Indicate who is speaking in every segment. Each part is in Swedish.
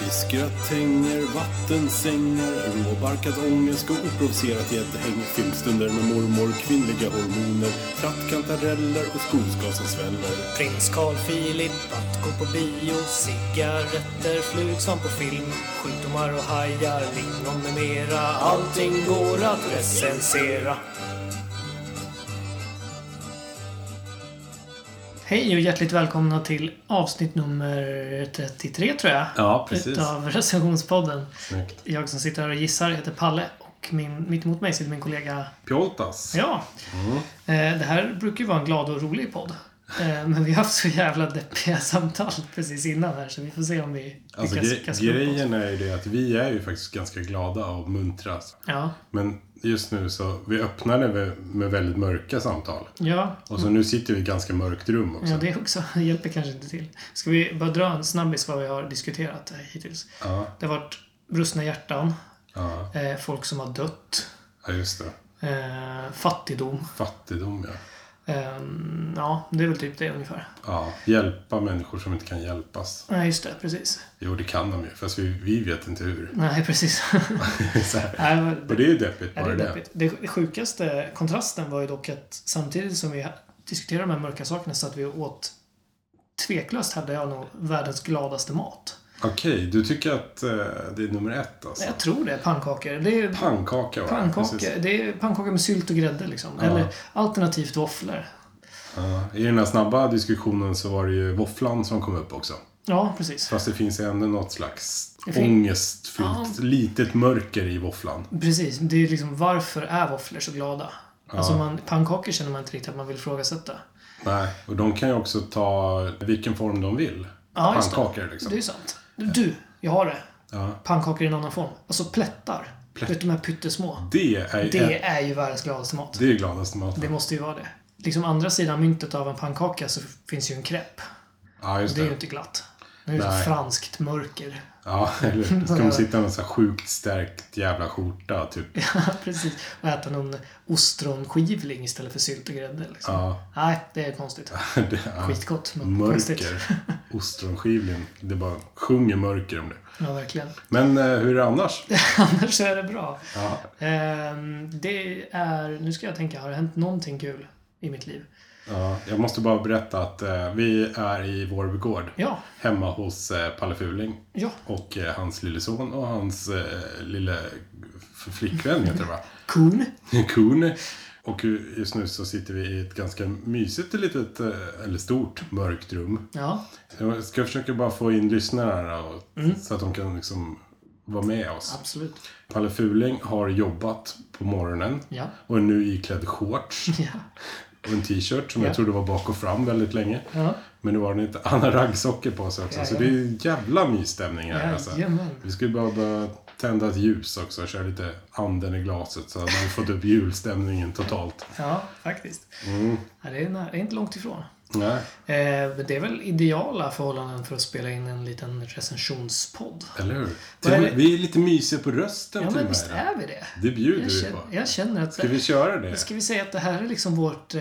Speaker 1: I skrattänger, vattensängar, råbarkad ångest och oprovocerat gäddhäng. Filmstunder med mormor, kvinnliga hormoner, trattkantareller och skogsglas som sväller.
Speaker 2: Prins Carl Philip, att gå på bio, cigaretter, flug som på film, sjukdomar och hajar, lingon med mera. Allting går att recensera. Hej och hjärtligt välkomna till avsnitt nummer 33 tror jag.
Speaker 3: Ja, precis.
Speaker 2: Utav recensionspodden.
Speaker 3: Snyggt.
Speaker 2: Jag som sitter här och gissar heter Palle och min, mitt emot mig sitter min kollega
Speaker 3: Pjoltas.
Speaker 2: Ja.
Speaker 3: Mm.
Speaker 2: Eh, Det här brukar ju vara en glad och rolig podd. Eh, Men vi har haft så jävla deppiga samtal precis innan här så vi får se om vi
Speaker 3: Alltså, gre-
Speaker 2: kasta upp oss.
Speaker 3: grejen är ju det att vi är ju faktiskt ganska glada och muntra.
Speaker 2: Ja,
Speaker 3: Men just nu så, vi öppnade med, med väldigt mörka samtal.
Speaker 2: ja,
Speaker 3: Och så nu sitter vi i ett ganska mörkt rum också.
Speaker 2: Mm. ja, det också. Det hjälper kanske inte till. Ska vi bara dra en snabbis vad vi har diskuterat eh, hittills?
Speaker 3: Ja,
Speaker 2: Det har varit brustna hjärtan,
Speaker 3: ja,
Speaker 2: eh, folk som har dött,
Speaker 3: ja, just det.
Speaker 2: eh, fattigdom.
Speaker 3: Fattigdom, ja.
Speaker 2: Eh, Ja, det är väl typ det ungefär.
Speaker 3: ja. Hjälpa människor som inte kan hjälpas.
Speaker 2: Nej, just det. Precis.
Speaker 3: Jo, det kan de ju. Fast vi, vi vet inte hur.
Speaker 2: Nej, precis.
Speaker 3: så här.
Speaker 2: Nej, men-
Speaker 3: Och det är ju deppigt,
Speaker 2: Ja, det
Speaker 3: bara
Speaker 2: är
Speaker 3: det.
Speaker 2: deppigt. Det sjukaste kontrasten var ju dock att samtidigt som vi diskuterade de här mörka sakerna så att vi åt tveklöst hade jag nog världens gladaste mat.
Speaker 3: Okej, du tycker att eh, det är nummer ett alltså?
Speaker 2: Jag tror det. Pannkakor. Det är
Speaker 3: Pannkaka var det, precis.
Speaker 2: pannkakor. Det är pannkakor med sylt och grädde liksom. Eller alternativt våfflor.
Speaker 3: Ja, I den här snabba diskussionen så var det ju våfflan som kom upp också.
Speaker 2: Ja, precis.
Speaker 3: Fast det finns ju ändå något slags
Speaker 2: Det fin-
Speaker 3: ångestfyllt, litet mörker i våfflan.
Speaker 2: Precis. Det är liksom varför är våfflor så glada? Alltså man, pannkakor känner man inte riktigt att man vill ifrågasätta.
Speaker 3: Nej, och de kan ju också ta vilken form de vill.
Speaker 2: Ja, just det.
Speaker 3: Pannkakor liksom.
Speaker 2: Det är ju sant. Du, jag har det.
Speaker 3: Ja.
Speaker 2: Pannkakor i en annan form. Alltså plättar.
Speaker 3: Plätt-
Speaker 2: Du vet de här pyttesmå.
Speaker 3: Det är ju
Speaker 2: Det
Speaker 3: det...
Speaker 2: är ju världens gladaste mat.
Speaker 3: Det är ju gladaste maten.
Speaker 2: Det måste ju vara det. Liksom andra sidan myntet av en pannkaka så finns ju en crepe.
Speaker 3: Ja, just
Speaker 2: Det är ju
Speaker 3: det.
Speaker 2: inte glatt. Det är ju ett
Speaker 3: Nej.
Speaker 2: franskt mörker.
Speaker 3: Ja, eller hur? Ska man sitta med en sån här sjukt stärkt jävla skjorta, typ.
Speaker 2: Precis. Och äta någon ostronskivling istället för sylt och grädde. Liksom.
Speaker 3: Ja.
Speaker 2: Nej, det är konstigt.
Speaker 3: Det är
Speaker 2: Skitgott, men konstigt.
Speaker 3: mörker. Ostronskivling. Det bara sjunger mörker om det.
Speaker 2: Ja, verkligen.
Speaker 3: Men eh, hur är det annars?
Speaker 2: Annars så är det bra.
Speaker 3: Ja.
Speaker 2: Ehm, det är... Nu ska jag tänka, har det hänt någonting kul i mitt liv?
Speaker 3: Ja, jag måste bara berätta att eh, vi är i Vårbygård.
Speaker 2: Ja,
Speaker 3: Hemma hos eh, Palle Fuling.
Speaker 2: ja.
Speaker 3: Och eh, hans lille son och hans eh, lille f- flickvän heter det va?
Speaker 2: Kun.
Speaker 3: Kun. Och ju- just nu så sitter vi i ett ganska mysigt litet, eh, eller stort, mörkt rum.
Speaker 2: Ja,
Speaker 3: Jag ska försöka bara få in lyssnarna och, så att de kan liksom vara med oss.
Speaker 2: absolut.
Speaker 3: Palle Fuling har jobbat på morgonen
Speaker 2: Ja.
Speaker 3: och är nu iklädd shorts
Speaker 2: Ja.
Speaker 3: och en t-shirt som
Speaker 2: Ja.
Speaker 3: jag trodde var bak och fram väldigt länge.
Speaker 2: ja.
Speaker 3: Men nu har han inte. Han har raggsockor på sig också. Så det är en jävla mysstämning här. Alltså.
Speaker 2: Jajamän.
Speaker 3: Vi skulle bara behöva tända ett ljus också och köra lite anden i glaset. Så hade vi fått upp julstämningen totalt.
Speaker 2: Ja, faktiskt.
Speaker 3: Mm.
Speaker 2: Ja, det, är, nä- det är inte långt ifrån.
Speaker 3: Nej,
Speaker 2: Eh, men det är väl ideala förhållanden för att spela in en liten recensionspodd.
Speaker 3: eller hur?
Speaker 2: Vad är det-
Speaker 3: Vi är lite mysiga på rösten
Speaker 2: Ja,
Speaker 3: till
Speaker 2: men
Speaker 3: och
Speaker 2: visst
Speaker 3: med.
Speaker 2: är vi det?
Speaker 3: Det bjuder
Speaker 2: Jag
Speaker 3: vi på.
Speaker 2: känner, jag känner att...
Speaker 3: Ska vi köra det?
Speaker 2: Ska vi säga att det här är liksom vårt eh,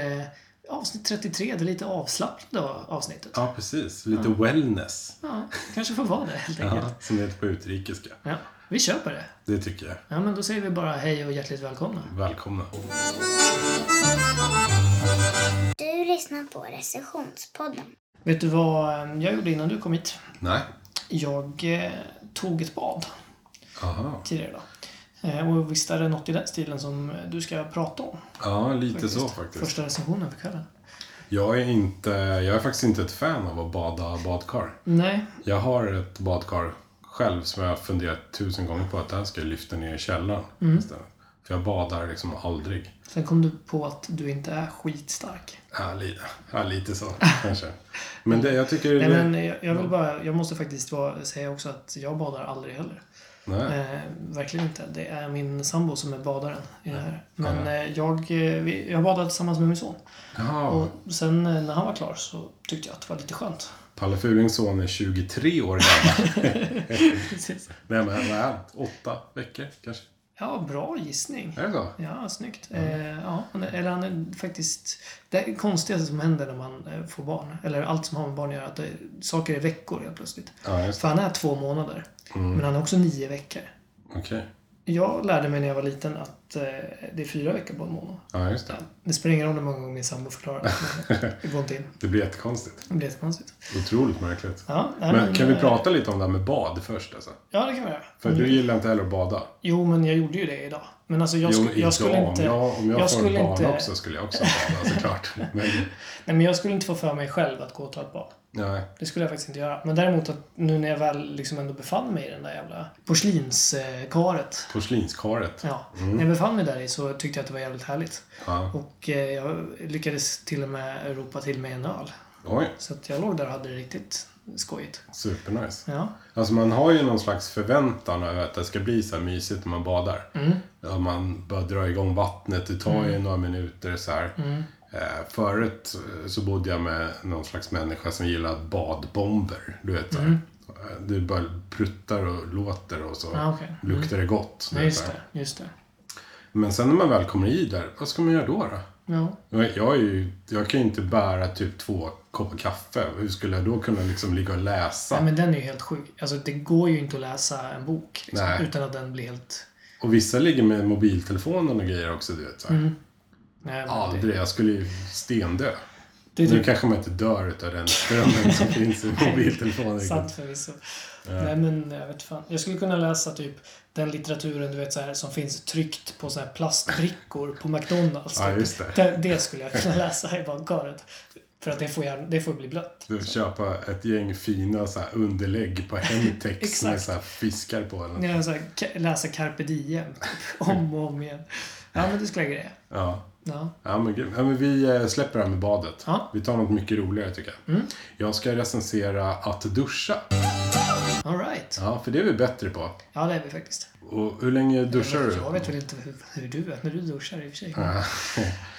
Speaker 2: avsnitt 33, det lite avslappnade avsnittet?
Speaker 3: Ja, precis. Lite wellness.
Speaker 2: Ja, kanske får vara det helt enkelt.
Speaker 3: Ja, som det heter på utrikiska.
Speaker 2: Ja. vi köper det.
Speaker 3: Det tycker jag.
Speaker 2: Ja, men då säger vi bara hej och hjärtligt välkomna.
Speaker 3: Välkomna.
Speaker 4: Du lyssnar på recensionspodden.
Speaker 2: Vet du vad eh, jag gjorde innan du kom hit?
Speaker 3: Nej.
Speaker 2: Jag eh, tog ett bad
Speaker 3: Aha.
Speaker 2: tidigare idag. Eh, och visst är det något i den stilen som eh, du ska prata om?
Speaker 3: Ja, lite så faktiskt.
Speaker 2: Första recensionen för kvällen.
Speaker 3: Jag är, inte, jag är faktiskt inte ett fan av att bada badkar.
Speaker 2: Nej,
Speaker 3: Jag har ett badkar själv som jag har funderat tusen gånger på att det här ska jag lyfta ner i källaren
Speaker 2: Mm.
Speaker 3: istället. För jag badar liksom aldrig.
Speaker 2: sen kom du på att du inte är skitstark.
Speaker 3: Ja, lite, ja, lite så kanske. Men det, jag tycker...
Speaker 2: Nej, men jag, jag vill bara, jag måste faktiskt vara, säga också att jag badar aldrig heller.
Speaker 3: Nej.
Speaker 2: Eh, verkligen inte. Det är min sambo som är badaren i det här. Men eh, jag, eh, vi, jag badade tillsammans med min son.
Speaker 3: Jaha,
Speaker 2: Och sen eh, när han var klar så tyckte jag att det var lite skönt.
Speaker 3: Palle Fulings son är 23 år gammal.
Speaker 2: Precis.
Speaker 3: Nej men vad är han? Åtta veckor kanske?
Speaker 2: Ja, bra gissning.
Speaker 3: Är det så?
Speaker 2: Ja, snyggt. Eh, ja, han är- eller han är faktiskt... Det är konstigaste som händer när man eh, får barn, eller allt som har med barn att göra, att det, saker är veckor helt plötsligt.
Speaker 3: Ja, just
Speaker 2: För han är två månader,
Speaker 3: Mm.
Speaker 2: men han är också nio veckor.
Speaker 3: det. Okej.
Speaker 2: Jag lärde mig när jag var liten att eh, det är fyra veckor på en månad.
Speaker 3: Ja, just det.
Speaker 2: Det spelar ingen roll hur många gånger min sambo förklarar det. Det går inte in.
Speaker 3: Det blir jättekonstigt.
Speaker 2: Det blir jättekonstigt.
Speaker 3: Otroligt märkligt.
Speaker 2: Ja, nej,
Speaker 3: Men kan vi
Speaker 2: eh, Mm.
Speaker 3: prata lite om det här med bad först alltså?
Speaker 2: Ja, det kan vi göra.
Speaker 3: För du gillar inte heller att bada.
Speaker 2: Jo, men jag gjorde ju det idag. Men alltså jag,
Speaker 3: Jo,
Speaker 2: sku, jag skulle
Speaker 3: idag,
Speaker 2: inte...
Speaker 3: Om jag, om jag,
Speaker 2: jag
Speaker 3: får
Speaker 2: skulle
Speaker 3: barn
Speaker 2: inte-
Speaker 3: också skulle jag också bada såklart. Men,
Speaker 2: Nej, men jag skulle inte få för mig själv att gå och ta ett bad.
Speaker 3: nej.
Speaker 2: Det skulle jag faktiskt inte göra. Men däremot att nu när jag väl liksom ändå befann mig i den där jävla porslinskaret.
Speaker 3: Porslinskaret.
Speaker 2: Ja, när
Speaker 3: Mm.
Speaker 2: jag befann mig där i så tyckte jag att det var jävligt härligt.
Speaker 3: Ja.
Speaker 2: Och eh, jag lyckades till och med ropa till mig en öl.
Speaker 3: Oj,
Speaker 2: Så att jag låg där och hade det riktigt skojigt.
Speaker 3: supernice.
Speaker 2: Ja,
Speaker 3: Alltså man har ju någon slags förväntan över att det ska bli så här mysigt när man badar.
Speaker 2: Mm,
Speaker 3: Ja, man börjar dra igång vattnet, det tar ju några minuter så här.
Speaker 2: mm.
Speaker 3: Eh, förut eh, så bodde jag med någon slags människa som gillade badbomber. Du vet, så här. Eh, det bara pruttar och låter och så
Speaker 2: Mm. Ja, okej. Mm.
Speaker 3: luktar det gott. du
Speaker 2: Nej,
Speaker 3: vet
Speaker 2: just
Speaker 3: så här.
Speaker 2: det. Just det.
Speaker 3: Men sen när man väl kommer i där, vad ska man göra då? då?
Speaker 2: Ja.
Speaker 3: Jag, jag, är ju, jag kan ju inte bära typ två koppar kaffe. Hur skulle jag då kunna liksom ligga och läsa?
Speaker 2: Nej, men den är ju helt sjuk. Alltså, det går ju inte att läsa en bok liksom,
Speaker 3: Nej.
Speaker 2: utan att den blir helt...
Speaker 3: Och vissa ligger med mobiltelefonen och grejer också, du vet. Så här.
Speaker 2: Nej, men Mm. det,
Speaker 3: Aldrig, jag skulle ju stendö.
Speaker 2: det är
Speaker 3: Nu
Speaker 2: typ
Speaker 3: kanske man inte dör utav den strömmen som finns i mobiltelefonen.
Speaker 2: sant förvisso. Nej, men jag vet fan. Jag skulle kunna läsa typ den litteraturen du vet så här, som finns tryckt på så här plastbrickor på McDonalds.
Speaker 3: Ja,
Speaker 2: typ.
Speaker 3: just det.
Speaker 2: det. Det skulle jag kunna läsa i badkaret. För att det får, gärna, det får bli blött.
Speaker 3: Du köpa ett gäng fina så här, underlägg på Hemtex med
Speaker 2: Exakt.
Speaker 3: så här, fiskar på. Eller något.
Speaker 2: Jag så här, ka- läsa Carpe Diem typ, om och om igen. Ja, men det skulle jag greja.
Speaker 3: Ja.
Speaker 2: Ja.
Speaker 3: Ja men, gud. ja, men vi eh, släpper det här med badet.
Speaker 2: Ja. Mm.
Speaker 3: Vi tar något mycket roligare tycker jag. Jag ska recensera att duscha.
Speaker 2: All right.
Speaker 3: Ja, för det är vi bättre på.
Speaker 2: Ja, det är vi faktiskt.
Speaker 3: Och hur länge duschar du?
Speaker 2: Jag vet väl inte hur, hur du är när du duschar i och för sig.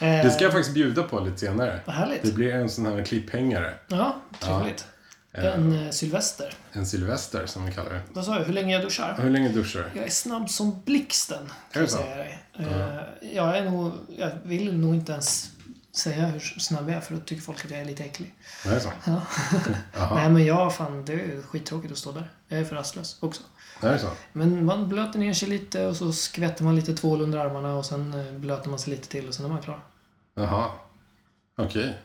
Speaker 2: Eh,
Speaker 3: Det ska jag faktiskt bjuda på lite senare.
Speaker 2: Vad
Speaker 3: Det
Speaker 2: härligt.
Speaker 3: blir en sån här klipphängare.
Speaker 2: Ja, trevligt. En eh, Sylvester.
Speaker 3: En Sylvester som vi kallar det.
Speaker 2: Vad sa jag? Hur länge jag duschar?
Speaker 3: Hur länge duschar du?
Speaker 2: Jag är snabb som blixten,
Speaker 3: Är
Speaker 2: kan
Speaker 3: det
Speaker 2: jag
Speaker 3: så?
Speaker 2: säga dig. Eh, Jag, är nog, jag vill nog inte ens säga hur snabb jag är, för då tycker folk att jag är lite äcklig.
Speaker 3: Det är så?
Speaker 2: Ja. Nej, men jag, fan, det är skittråkigt att stå där. Jag är för rastlös också.
Speaker 3: Det är så?
Speaker 2: Men man blöter ner sig lite och så skvätter man lite tvål under armarna och sen eh, blöter man sig lite till och sen är man klar.
Speaker 3: Jaha. Okej.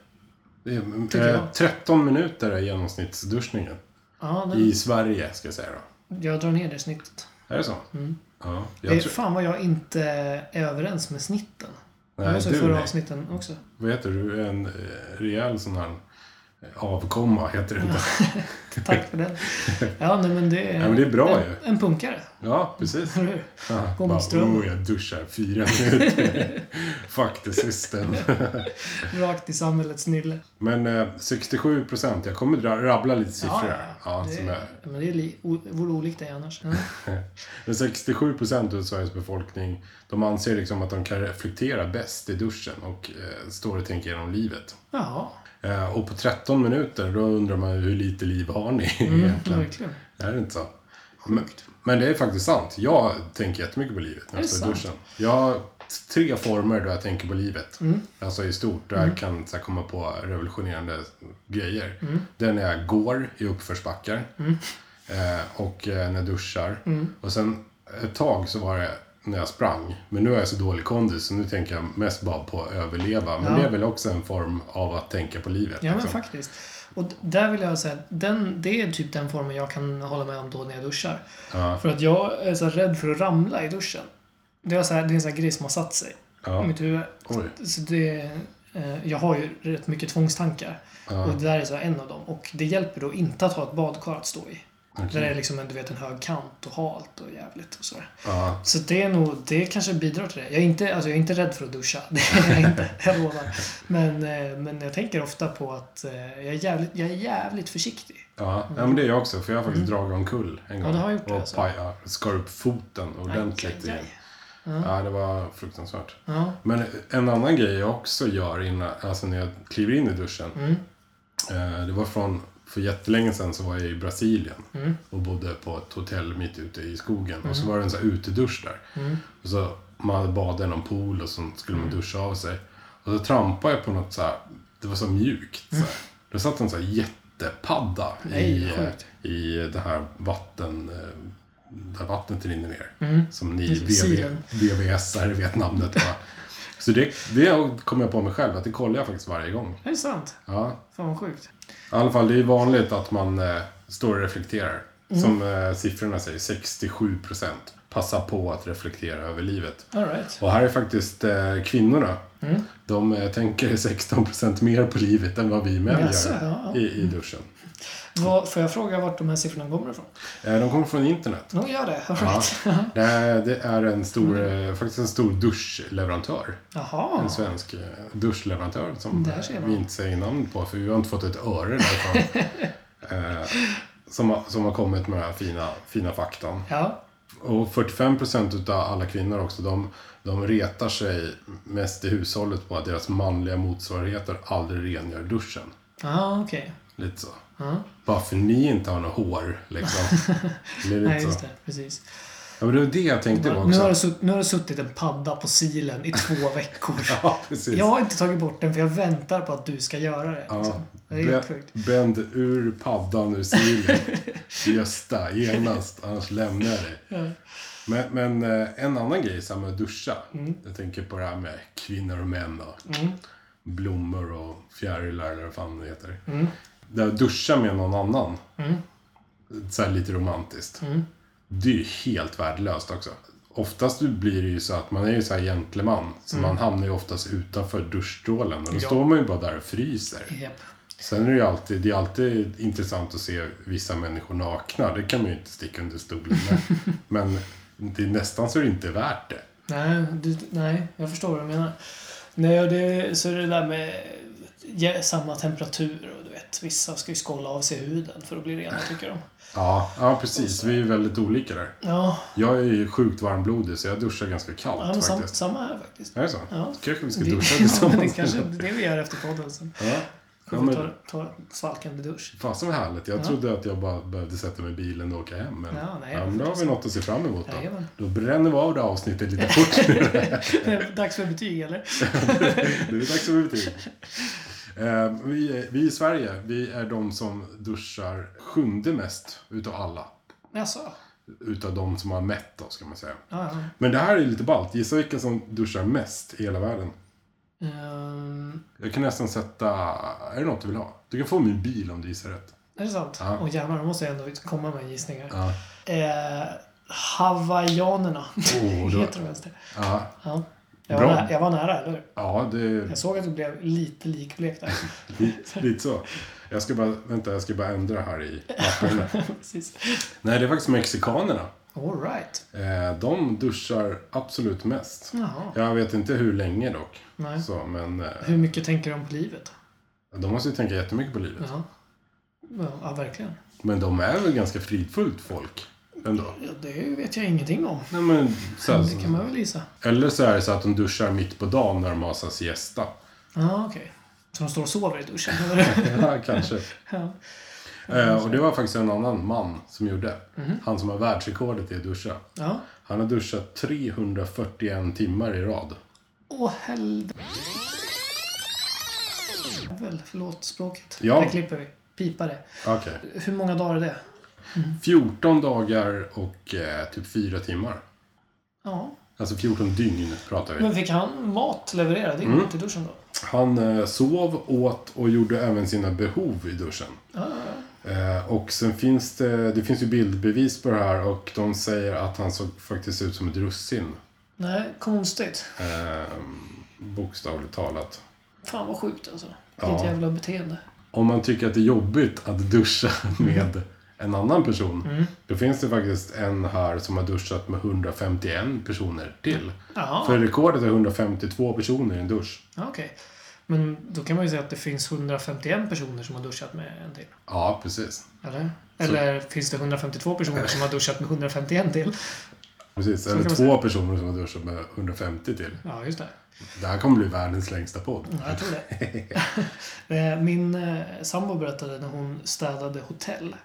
Speaker 3: Det
Speaker 2: Tycker
Speaker 3: är,
Speaker 2: jag.
Speaker 3: eh, 13 minuter är genomsnittsduschningen.
Speaker 2: Ja, nej,
Speaker 3: I Sverige ska jag säga då.
Speaker 2: jag drar ner det snittet.
Speaker 3: Är det så? Ja.
Speaker 2: Mm. Det är
Speaker 3: Jag tror,
Speaker 2: fan vad jag inte är överens med snitten. Det var
Speaker 3: nej,
Speaker 2: så i
Speaker 3: du
Speaker 2: förra
Speaker 3: nej.
Speaker 2: avsnitten också.
Speaker 3: Vad heter du? En eh, rejäl sån här eh, avkomma heter det inte.
Speaker 2: Tack för den. Ja, nej, men det är,
Speaker 3: Ja, men det är bra
Speaker 2: en,
Speaker 3: ju.
Speaker 2: en punkare.
Speaker 3: Ja, precis.
Speaker 2: Eller hur?
Speaker 3: Ja,
Speaker 2: Gå
Speaker 3: bara,
Speaker 2: mot strömmen.
Speaker 3: Oh, jag duschar fyra minuter. Fuck the system.
Speaker 2: Rakt i samhällets nylle.
Speaker 3: Men eh, 67 procent. Jag kommer dra, rabbla lite siffror här. Typ Ja,
Speaker 2: det,
Speaker 3: som är, Mm.
Speaker 2: Men det är li, o, vore olikt dig annars. Ja.
Speaker 3: men 67 procent av Sveriges befolkning de anser liksom att de kan reflektera bäst i duschen och eh, står och tänker igenom livet.
Speaker 2: Jaha,
Speaker 3: Eh, och på 13 minuter, då undrar man ju hur lite liv har ni egentligen?
Speaker 2: verkligen.
Speaker 3: Det här är inte så. Men, men det är faktiskt sant. Jag tänker jättemycket på livet när
Speaker 2: Är
Speaker 3: jag
Speaker 2: det
Speaker 3: står i
Speaker 2: sant?
Speaker 3: duschen. Jag har tre former där jag tänker på livet.
Speaker 2: Mm.
Speaker 3: Alltså i stort, där jag kan så här, komma på revolutionerande grejer.
Speaker 2: Mm.
Speaker 3: Det är när jag går i uppförsbackar. Eh, och eh, när jag duschar.
Speaker 2: Mm.
Speaker 3: Och sen ett tag så var det när jag sprang. Men nu är jag så dålig kondis så nu tänker jag mest bara på att överleva. Men
Speaker 2: Ja.
Speaker 3: det är väl också en form av att tänka på livet.
Speaker 2: Ja, men
Speaker 3: liksom.
Speaker 2: faktiskt. Och d- där vill jag säga att den, det är typ den formen jag kan hålla med om då när jag duschar.
Speaker 3: Ja.
Speaker 2: För att jag är så här rädd för att ramla i duschen. Det är, så här, det är en sån här grej som har satt sig
Speaker 3: Ja.
Speaker 2: i mitt huvud.
Speaker 3: Oj.
Speaker 2: Så det, eh, jag har ju rätt mycket tvångstankar. Och det där är så här en av dem. Och det hjälper då inte att ha ett badkar att stå i. Där det är liksom en, du vet, en hög kant och halt och jävligt och sådär.
Speaker 3: Ja.
Speaker 2: Så det är nog, det kanske bidrar till det. Jag är inte, alltså jag är inte rädd för att duscha. Det är jag inte, jag lovar. Men, eh, men jag tänker ofta på att eh, jag är jävligt, jag är jävligt försiktig.
Speaker 3: Ja, ja men det är jag också. För jag har faktiskt dragit omkull en gång.
Speaker 2: Mm. Ja, du har gjort det,
Speaker 3: och
Speaker 2: alltså.
Speaker 3: paja, skar upp foten ordentligt.
Speaker 2: Aj, aj, aj.
Speaker 3: igen. Ja, det var fruktansvärt.
Speaker 2: Ja.
Speaker 3: Men en annan
Speaker 2: Mm.
Speaker 3: grej jag också gör innan, alltså när jag kliver in i duschen. Eh, det var från För jättelänge sedan så var jag i Brasilien
Speaker 2: Mm.
Speaker 3: och bodde på ett hotell mitt ute i skogen. Och så var det en sån här utedusch där.
Speaker 2: Mm.
Speaker 3: Och så man badade i någon pool och så skulle man duscha av sig. Och så trampade jag på något så här, det var så mjukt. Så här. Då satt en så här jättepadda
Speaker 2: Mm. Nej,
Speaker 3: i,
Speaker 2: sjukt.
Speaker 3: eh, i det här vatten... eh, Där vattnet rinner ner.
Speaker 2: Mm.
Speaker 3: Som ni
Speaker 2: Silen.
Speaker 3: VVS-are vet namnet va. Så det, det kom jag på mig själv, att det kollar jag faktiskt varje gång.
Speaker 2: Det är sant.
Speaker 3: Ja,
Speaker 2: Fan vad sjukt.
Speaker 3: i alla fall, det är vanligt att man eh, står och reflekterar.
Speaker 2: Mm.
Speaker 3: Som eh, siffrorna säger, 67 procent passar på att reflektera över livet.
Speaker 2: All right.
Speaker 3: Och här är faktiskt eh, kvinnorna.
Speaker 2: Mm.
Speaker 3: De eh, tänker 16 procent mer på livet än vad vi män
Speaker 2: Jaså,
Speaker 3: gör
Speaker 2: ja, Mm. ja.
Speaker 3: I, i duschen.
Speaker 2: Vad, får jag fråga vart de här siffrorna kommer ifrån?
Speaker 3: Eh, de kommer från internet.
Speaker 2: De gör det. All
Speaker 3: Ja.
Speaker 2: right.
Speaker 3: Det, är, det är en stor,
Speaker 2: Mm.
Speaker 3: eh, faktiskt en stor duschleverantör.
Speaker 2: Jaha.
Speaker 3: En svensk eh, duschleverantör som
Speaker 2: Där ser
Speaker 3: eh,
Speaker 2: man.
Speaker 3: vi inte säger namn på för vi har inte fått ett öre därifrån. eh, som, har, som har kommit med de här fina, fina faktan.
Speaker 2: Ja.
Speaker 3: Och 45% utav alla kvinnor också, de, de retar sig mest i hushållet på att deras manliga motsvarigheter aldrig rengör duschen.
Speaker 2: Ja, okej.
Speaker 3: Lite så.
Speaker 2: Ja.
Speaker 3: Bara för ni inte har något hår liksom. Det är lite
Speaker 2: Nej,
Speaker 3: så.
Speaker 2: just det. Precis.
Speaker 3: Ja, men det var det jag tänkte på
Speaker 2: nu,
Speaker 3: också.
Speaker 2: har det sutt, nu har det suttit en padda på silen i två veckor.
Speaker 3: Ja, precis.
Speaker 2: Jag har inte tagit bort den för jag väntar på att du ska göra det.
Speaker 3: Ja.
Speaker 2: liksom. Det är helt
Speaker 3: Bä-
Speaker 2: sjukt.
Speaker 3: Bänd ur paddan ur silen. Gösta, genast. Annars lämnar jag dig. Men, men eh, en annan grej så här med att duscha.
Speaker 2: Mm.
Speaker 3: Jag tänker på det här med kvinnor och män och blommor och fjärilar eller vad fan det heter.
Speaker 2: Mm.
Speaker 3: Det här att duscha med någon annan. Så här lite romantiskt.
Speaker 2: Mm.
Speaker 3: Det är ju helt värdelöst också. Oftast blir det ju så att man är ju så här gentleman. Så man hamnar ju oftast utanför duschstrålen. Och då
Speaker 2: Mm. Ja.
Speaker 3: står man ju bara där och fryser.
Speaker 2: Japp.
Speaker 3: Sen är det ju alltid, det är alltid intressant att se vissa människor nakna. Det kan man ju inte sticka under stolen med. Men det är nästan så det inte är värt det.
Speaker 2: Nej, du, nej, jag förstår vad du menar. Nej, och det, så är det där med ja, samma temperatur och du vet, vissa ska ju skålla av sig huden för att bli rena tycker de.
Speaker 3: Ja, ja precis. Vi är väldigt olika där.
Speaker 2: Ja,
Speaker 3: Jag är ju sjukt varmblodig så jag duschar ganska kallt
Speaker 2: ja men sam,
Speaker 3: faktiskt.
Speaker 2: samma här faktiskt.
Speaker 3: Är det så?
Speaker 2: Ja.
Speaker 3: kanske vi ska
Speaker 2: Det,
Speaker 3: duscha
Speaker 2: ja, men det
Speaker 3: tillsammans.
Speaker 2: kanske är det vi gör efter podden sen.
Speaker 3: Ja. Ja,
Speaker 2: Ja, ta,
Speaker 3: men,
Speaker 2: ta en svalkande dusch.
Speaker 3: fasen vad härligt. Jag trodde att jag bara behövde sätta mig i bilen och åka hem. Men,
Speaker 2: Ja, nej,
Speaker 3: men då har vi något att se fram emot då.
Speaker 2: Jajamän.
Speaker 3: Då bränner vi av det här avsnittet lite fort nu.
Speaker 2: Dags för betyg eller?
Speaker 3: Det är dags för betyg. Eh, vi, vi i Sverige, vi är de som duschar sjunde mest utav alla.
Speaker 2: Jaså?
Speaker 3: Utav de som har mätt då, ska man säga.
Speaker 2: Ja, ja.
Speaker 3: Men det här är lite ballt. Gissa vilka som duschar mest i hela världen.
Speaker 2: Ehm,
Speaker 3: Jag kan nästan sätta... Är det något du vill ha? Du kan få min bil om du gissar rätt.
Speaker 2: är det sant?
Speaker 3: Ja.
Speaker 2: Åh jävlar, då måste jag ändå komma med gissningar.
Speaker 3: Ja.
Speaker 2: Eh, hawaiianerna.
Speaker 3: Åh, det var-
Speaker 2: Heter de ens det?
Speaker 3: Ja,
Speaker 2: Ja. Jag var,
Speaker 3: Bra.
Speaker 2: nära, jag var nära, eller hur?
Speaker 3: ja det,
Speaker 2: Jag såg att du blev lite likblek där.
Speaker 3: lite, lite så. Jag ska bara... Vänta, jag ska bara ändra här i papperna.
Speaker 2: Precis.
Speaker 3: Nej, det är faktiskt mexikanerna.
Speaker 2: All right.
Speaker 3: Eh, de duschar absolut mest.
Speaker 2: Jaha.
Speaker 3: Jag vet inte hur länge dock.
Speaker 2: Nej.
Speaker 3: Så, men eh,
Speaker 2: Hur mycket tänker de på livet?
Speaker 3: de måste ju tänka jättemycket på livet.
Speaker 2: Ja. Ja, ja, verkligen.
Speaker 3: Men de är väl ganska fridfullt folk ändå?
Speaker 2: Ja, det vet jag ingenting om.
Speaker 3: Nej, men, så här,
Speaker 2: Det kan man väl gissa.
Speaker 3: Eller så är det så att de duschar mitt på dagen när de har så här siesta.
Speaker 2: Ja, ah, okej. Så de står och sover i duschen? eller?
Speaker 3: Ja, kanske.
Speaker 2: ja.
Speaker 3: Eh, och det var faktiskt en annan man som gjorde.
Speaker 2: Mhm.
Speaker 3: Han som har världsrekordet i att duscha.
Speaker 2: ja.
Speaker 3: Han har duschat 341 timmar i rad.
Speaker 2: Åh, helvete. Väl, Förlåt språket.
Speaker 3: Ja.
Speaker 2: Det klipper vi. Pipa det.
Speaker 3: Okej.
Speaker 2: Hur många dagar är det?
Speaker 3: 14 dagar och eh, typ 4 timmar.
Speaker 2: Ja.
Speaker 3: Alltså 14 dygn pratar vi.
Speaker 2: Men fick han mat levererad in
Speaker 3: Mm.
Speaker 2: till duschen då?
Speaker 3: Han eh, sov, åt och gjorde även sina behov i duschen.
Speaker 2: Ah.
Speaker 3: Eh, och sen finns det, det finns ju bildbevis på det här och de säger att han såg faktiskt ut som ett russin.
Speaker 2: Nej, konstigt.
Speaker 3: Eh, bokstavligt talat.
Speaker 2: Fan vad sjukt alltså. Vilket
Speaker 3: Ja.
Speaker 2: jävla beteende.
Speaker 3: Om man tycker att det är jobbigt att duscha med en annan person.
Speaker 2: Mm.
Speaker 3: Då finns det faktiskt en här som har duschat med 151 personer till.
Speaker 2: Jaha,
Speaker 3: För rekordet är 152 personer i en dusch.
Speaker 2: ja, okej. Men då kan man ju säga att det finns 151 personer som har duschat med en till.
Speaker 3: Ja, precis.
Speaker 2: Eller? Eller finns det 152 personer som har duschat med 151 till?
Speaker 3: Precis, eller
Speaker 2: kan man
Speaker 3: två personer som har duschat med 150 till.
Speaker 2: Ja, just det.
Speaker 3: Det här kommer bli världens längsta podd.
Speaker 2: Ja, jag tror det. Eh, Min eh, sambo berättade när hon städade hotell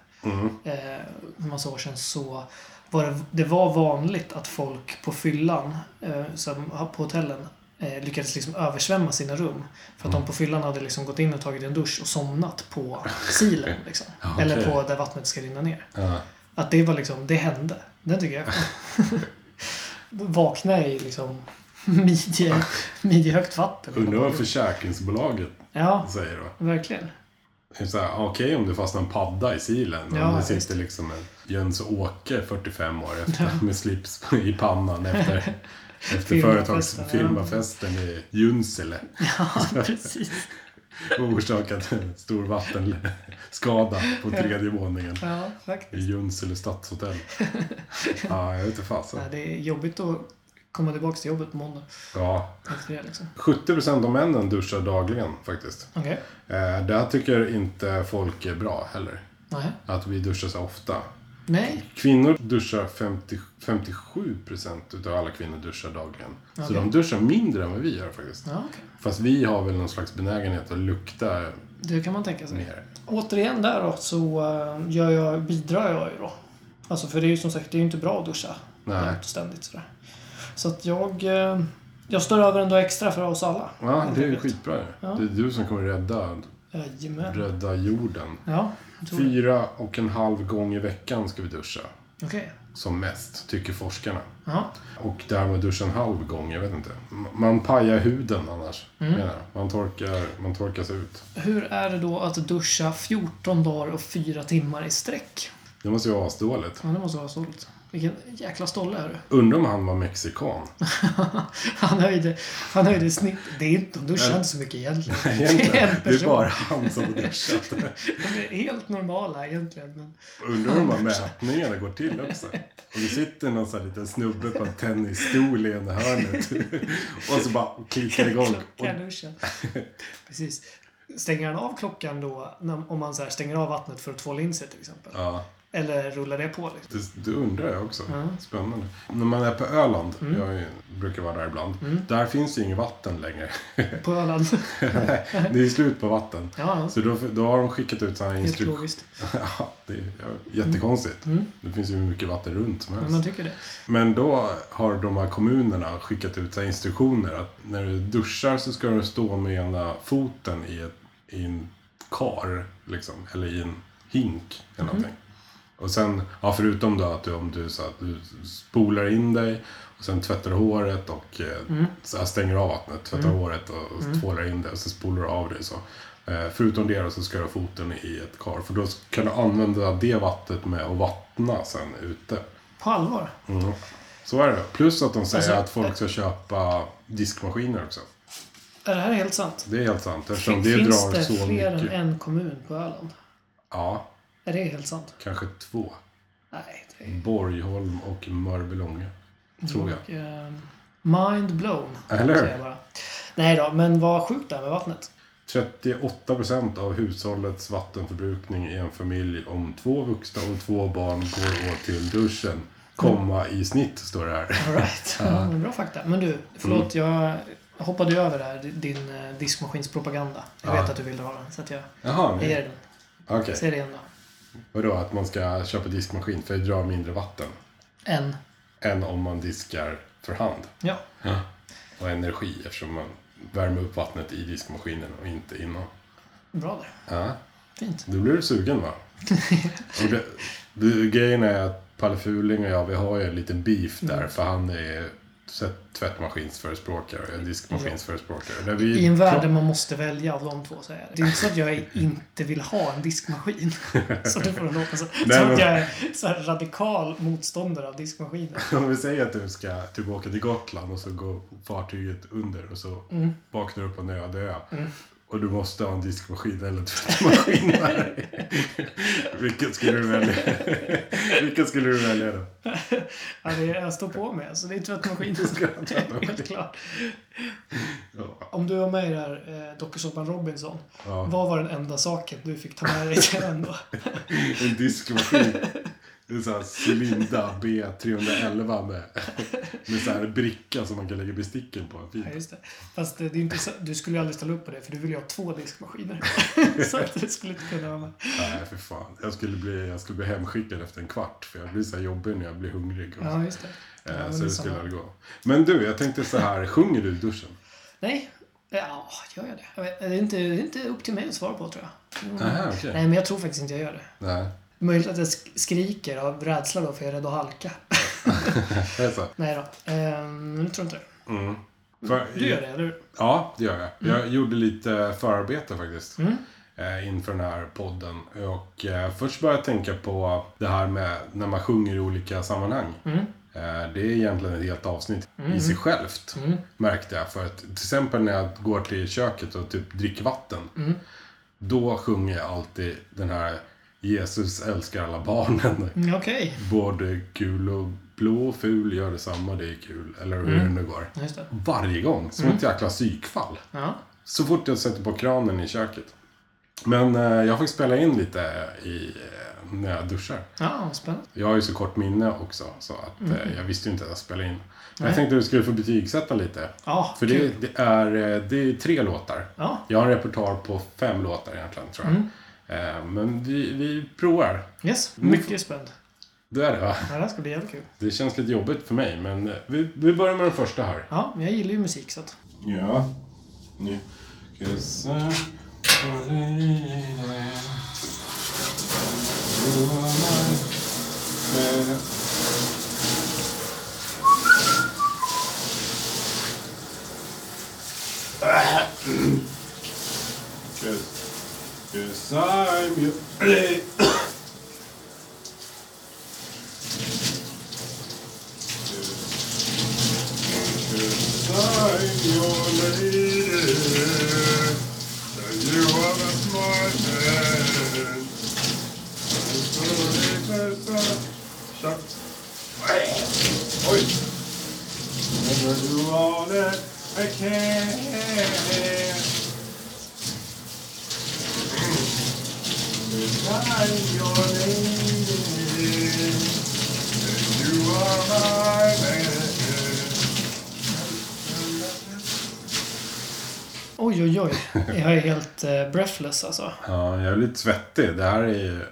Speaker 2: eh, en massa år sedan så var det, det var vanligt att folk på fyllan eh, som, på hotellen eh, lyckades liksom översvämma sina rum. För att de på fyllan hade liksom gått in och tagit en dusch och somnat på silen. Liksom.
Speaker 3: Ja, okej.
Speaker 2: Eller på där vattnet ska rinna ner.
Speaker 3: Ja.
Speaker 2: Att det var liksom, det hände. Den tycker jag. Vakna i liksom midje, midjehögt vatten.
Speaker 3: Undrar vad försäkringsbolaget
Speaker 2: Ja,
Speaker 3: säger då.
Speaker 2: verkligen.
Speaker 3: Det är så här, "Ah, Okej om det fastnar en padda i silen, men
Speaker 2: Ja,
Speaker 3: det
Speaker 2: visst.
Speaker 3: sitter liksom en Jöns och Åke 45 år efter med slips i pannan efter, efter
Speaker 2: Firmafesten, ja.
Speaker 3: företagsfirmafesten i Junsele.
Speaker 2: Ja, precis.
Speaker 3: och orsakat en stor vattenskada på tredje våningen
Speaker 2: Ja,
Speaker 3: i
Speaker 2: faktiskt.
Speaker 3: Junsele stadshotell. Ja, jag vet inte fasen.
Speaker 2: Nej, det är jobbigt att komma tillbaka till jobbet på måndag
Speaker 3: Ja,
Speaker 2: efter det liksom.
Speaker 3: 70% av männen duschar dagligen faktiskt.
Speaker 2: Okej.
Speaker 3: Eh, det här tycker inte folk är bra heller.
Speaker 2: Nej.
Speaker 3: Att vi duschar så ofta.
Speaker 2: Nej.
Speaker 3: Kvinnor duschar 50, 57% utav alla kvinnor duschar dagligen. Så
Speaker 2: Okej.
Speaker 3: de duschar mindre än vad vi gör faktiskt.
Speaker 2: Ja, okej.
Speaker 3: Fast vi har väl någon slags benägenhet att lukta
Speaker 2: Det kan man tänka sig.
Speaker 3: mer.
Speaker 2: Återigen där då så eh, gör jag, bidrar jag ju då. Alltså för det är ju som sagt, det är ju inte bra att duscha
Speaker 3: Nej.
Speaker 2: jämt och ständigt sådär. Så att jag, eh, jag står över ändå extra för oss alla.
Speaker 3: Ja,
Speaker 2: helt
Speaker 3: det är ju
Speaker 2: enkelt.
Speaker 3: skitbra ju. Det är du som kommer rädda,
Speaker 2: Jajamän.
Speaker 3: rädda jorden.
Speaker 2: Ja, jag tror det.
Speaker 3: Fyra och en halv gång i veckan ska vi duscha.
Speaker 2: Okej.
Speaker 3: Som mest, tycker forskarna.
Speaker 2: Ja,
Speaker 3: Och det här med att duscha en halv gång, jag vet inte. M- Man pajar huden annars.
Speaker 2: Mm.
Speaker 3: menar jag. Man, torkar, man torkas ut.
Speaker 2: Hur är det då att duscha 14 dagar och 4 timmar i sträck?
Speaker 3: Det måste ju vara asdåligt.
Speaker 2: Ja, det måste vara stolt. Vilken jäkla stolle är du.
Speaker 3: Undrar om han var mexikan.
Speaker 2: Han höjde, han höjde snitt. Det är inte, de duschar inte så mycket egentligen.
Speaker 3: Egentligen.
Speaker 2: Det är en
Speaker 3: Det är
Speaker 2: person.
Speaker 3: bara han som har duschat.
Speaker 2: De är helt normala egentligen. Men
Speaker 3: Undrar hur de här mätningarna går till också. Och det sitter någon sån här liten snubbe på en tennisstol i ena hörnet. Och så bara klickar det igång. Och
Speaker 2: klockan duschen. Precis. Stänger han av klockan då, när, om man så här stänger av vattnet för att tvåla in sig till exempel?
Speaker 3: Ja,
Speaker 2: Eller rullar det på? Liksom?
Speaker 3: det, det undrar jag också. Spännande. När man är på Öland,
Speaker 2: Mm.
Speaker 3: jag är- brukar vara där ibland, där finns det ju inget vatten längre.
Speaker 2: På Öland?
Speaker 3: det är slut på vatten.
Speaker 2: Ja,
Speaker 3: Så då, då har de skickat ut sådana
Speaker 2: helt
Speaker 3: instruktioner.
Speaker 2: logiskt. Mm.
Speaker 3: ja, det är ja, jättekonstigt. Det finns ju hur mycket vatten runt som
Speaker 2: Men
Speaker 3: helst.
Speaker 2: man tycker det.
Speaker 3: Men då har de här kommunerna skickat ut så här instruktioner att när du duschar så ska du stå med ena foten i, ett, i en kar, liksom, eller i en hink eller någonting. Och sen, ja, förutom då att du, om du, så att du spolar in dig och sen tvättar du håret och eh, så här stänger av vattnet, tvättar håret och, och tvålar in det och så spolar du av dig så. Eh, förutom det då så ska du ha foten i ett kar för då kan du använda det vattnet med att vattna sen ute.
Speaker 2: På allvar?
Speaker 3: Mm. Så är det. Plus att de säger
Speaker 2: Alltså-
Speaker 3: att folk ska köpa diskmaskiner också.
Speaker 2: Är det här helt sant?
Speaker 3: Det är helt sant eftersom det
Speaker 2: Finns
Speaker 3: drar
Speaker 2: det
Speaker 3: så
Speaker 2: fler
Speaker 3: mycket.
Speaker 2: än en kommun på Öland?
Speaker 3: Ja,
Speaker 2: Är det helt sant?
Speaker 3: kanske två.
Speaker 2: Nej, det är...
Speaker 3: Borgholm och Mörbylånga. Tror jag.
Speaker 2: Eh, Mind blown.
Speaker 3: Eller
Speaker 2: säger jag
Speaker 3: hur?
Speaker 2: bara. Nej då, men vad sjukt det här med vattnet.
Speaker 3: 38 procent av hushållets vattenförbrukning i en familj om två vuxna och två barn går åt till duschen. Komma i snitt, står det här.
Speaker 2: All right. Men Bra fakta. Men du, förlåt
Speaker 3: Mm.
Speaker 2: jag hoppade ju över där, din eh, diskmaskinspropaganda. Jag
Speaker 3: Ja.
Speaker 2: vet att du ville ha den, så att jag
Speaker 3: Jaha,
Speaker 2: jag
Speaker 3: nej.
Speaker 2: ger dig den.
Speaker 3: okej.
Speaker 2: Säg det igen då.
Speaker 3: Vadå, att man ska köpa diskmaskin för det drar mindre vatten
Speaker 2: En.
Speaker 3: än om man diskar för hand?
Speaker 2: Ja.
Speaker 3: och energi eftersom man värmer upp vattnet i diskmaskinen och inte innan.
Speaker 2: Bra där.
Speaker 3: Ja,
Speaker 2: Fint.
Speaker 3: då blir du sugen va? och det, det, grejen är att Palle Fuling och jag, vi har ju en liten beef där
Speaker 2: Mm.
Speaker 3: för han är tvätt- tvättmaskinsförespråkare och jag är diskmaskinsförespråkare. Där vi
Speaker 2: I en värld där man måste välja av de två så är det. Det är inte så att jag inte vill ha en diskmaskin. Så det får det låta så.
Speaker 3: Nej,
Speaker 2: Som
Speaker 3: men-
Speaker 2: att jag är så här radikal motståndare av diskmaskiner.
Speaker 3: Om vi säger att du ska typ åka till Gotland och så går fartyget under och så vaknar du upp på en öde ö. Och du måste ha en diskmaskin eller tvättmaskin med dig. Vilken skulle du välja? Vilken skulle du välja då?
Speaker 2: Ja, det är, jag står på med, så det är tvättmaskin. Helt klart.
Speaker 3: Ja.
Speaker 2: Om du var med i det här eh, dokusåpan Robinson,
Speaker 3: Ja.
Speaker 2: vad var den enda saken du fick ta med dig till den då?
Speaker 3: En diskmaskin. Det är såhär Cylinda B311 med, med så här bricka som man kan lägga besticken på. Fint.
Speaker 2: Ja, just det. Fast det, det är inte så, du skulle ju aldrig ställa upp på det för du vill ju ha två diskmaskiner. så att du skulle inte kunna vara med.
Speaker 3: Nej, för fan. Jag skulle, bli, jag skulle bli hemskickad efter en kvart för jag blir så här jobbig när jag blir hungrig. Och,
Speaker 2: Ja, just det. Ja,
Speaker 3: eh,
Speaker 2: men
Speaker 3: så
Speaker 2: det är
Speaker 3: det skulle
Speaker 2: samma.
Speaker 3: aldrig gå. Men du, jag tänkte så här. Sjunger du i duschen?
Speaker 2: Nej. Ja, gör jag det? Jag vet, det, är inte, det är inte upp till mig att svara på tror jag. Mm.
Speaker 3: Aha, okej.
Speaker 2: Nej, men jag tror faktiskt inte jag gör det.
Speaker 3: Nej.
Speaker 2: Möjligt att jag sk- skriker av rädsla då för jag är rädd att halka.
Speaker 3: Det är så.
Speaker 2: Nej då. Ehm, nu tror jag inte det.
Speaker 3: Mm. För,
Speaker 2: Du gör det, Mm. eller hur?
Speaker 3: Ja, det gör jag. Jag gjorde lite förarbete faktiskt.
Speaker 2: Mm.
Speaker 3: eh, Inför den här podden. Och eh, först började jag tänka på det här med när man sjunger i olika sammanhang.
Speaker 2: Mm.
Speaker 3: Eh, Det är egentligen ett helt avsnitt i sig självt.
Speaker 2: Mm.
Speaker 3: Märkte jag. För att till exempel när jag går till köket och typ dricker vatten.
Speaker 2: Mm.
Speaker 3: Då sjunger jag alltid den här Jesus älskar alla barnen.
Speaker 2: Mm, Okej.
Speaker 3: Både kul och blå och ful gör detsamma, det är kul. Eller hur det nu går.
Speaker 2: Just det.
Speaker 3: Varje gång, som ett jäkla psykfall.
Speaker 2: Ja.
Speaker 3: Så fort jag sätter på kranen i köket. Men eh, jag fick spela in lite i, eh, när jag duschar.
Speaker 2: Ja, spännande.
Speaker 3: Jag har ju så kort minne också, så att eh, jag visste ju inte att jag spelade in. Men jag tänkte att du skulle få betygsätta lite.
Speaker 2: Ja,
Speaker 3: För
Speaker 2: kul.
Speaker 3: det, det, är, eh, det är tre låtar.
Speaker 2: Ja.
Speaker 3: Jag har en repertoar på fem låtar egentligen, tror jag. Eh, Men vi, vi provar.
Speaker 2: Yes, mycket spänd.
Speaker 3: Det är det, va?
Speaker 2: Ja, det här ska bli jävligt kul.
Speaker 3: Det känns lite jobbigt för mig, men eh, vi, vi börjar med den första här.
Speaker 2: Ja, men jag gillar ju musik så att...
Speaker 3: Ja. Nu. Kyssar på dig. Blommar med- Kyss- Kyssar på dig. Kyss- Tja. Oj! Never do all that I can. Beside your lady, you are my man.
Speaker 2: Oj, oj, oj. Jag är helt eh, breathless alltså.
Speaker 3: Ja, jag är lite svettig. Det här är ju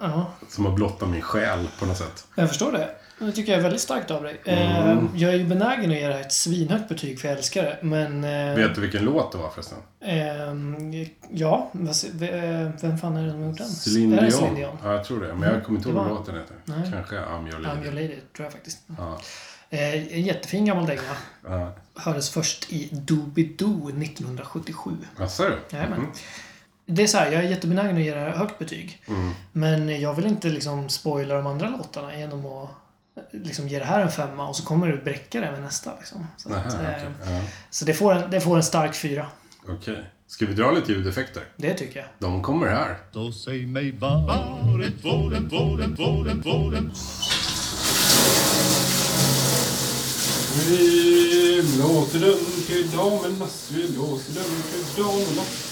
Speaker 2: Ja,
Speaker 3: som att blotta min själ på något sätt.
Speaker 2: jag förstår det. Det tycker jag är väldigt starkt av dig. Eh,
Speaker 3: Mm.
Speaker 2: Jag är ju benägen att ge det här ett svinhögt betyg för jag älskar det, men... eh,
Speaker 3: Vet du vilken låt det var förresten?
Speaker 2: ehm, ja, vad se- v- eh, vem fan är det som har gjort den?
Speaker 3: Celine
Speaker 2: Är det
Speaker 3: Dion.
Speaker 2: Dion? Mm,
Speaker 3: Ja, jag tror det. Men jag kommer inte ihåg vad
Speaker 2: Det var-
Speaker 3: låten heter.
Speaker 2: Nej.
Speaker 3: Kanske I'm your
Speaker 2: I'm
Speaker 3: lady.
Speaker 2: your lady, tror jag faktiskt.
Speaker 3: Ja.
Speaker 2: Eh, en jättefin gammal dänga.
Speaker 3: Ja.
Speaker 2: Hördes först i Doobidoo 1977.
Speaker 3: Jaså du?
Speaker 2: Jajamän.
Speaker 3: Mhm.
Speaker 2: Det är så här, jag är jättebenägen att ge det här högt betyg.
Speaker 3: Mm.
Speaker 2: Men jag vill inte liksom spoila de andra låtarna genom att liksom ge det här en femma och så kommer du bräcka det med nästa. Liksom. Så,
Speaker 3: Nähä,
Speaker 2: att, eh,
Speaker 3: okej. Ja.
Speaker 2: så det, får en, det får en stark fyra.
Speaker 3: Okej. Ska vi dra lite ljudeffekter?
Speaker 2: Det tycker jag.
Speaker 3: De kommer här.
Speaker 5: Så säg mig var är tvålen, tvålen, tvålen, tvålen
Speaker 3: Vi blåser dunkeldamernas, vi blåser dunkeldamernas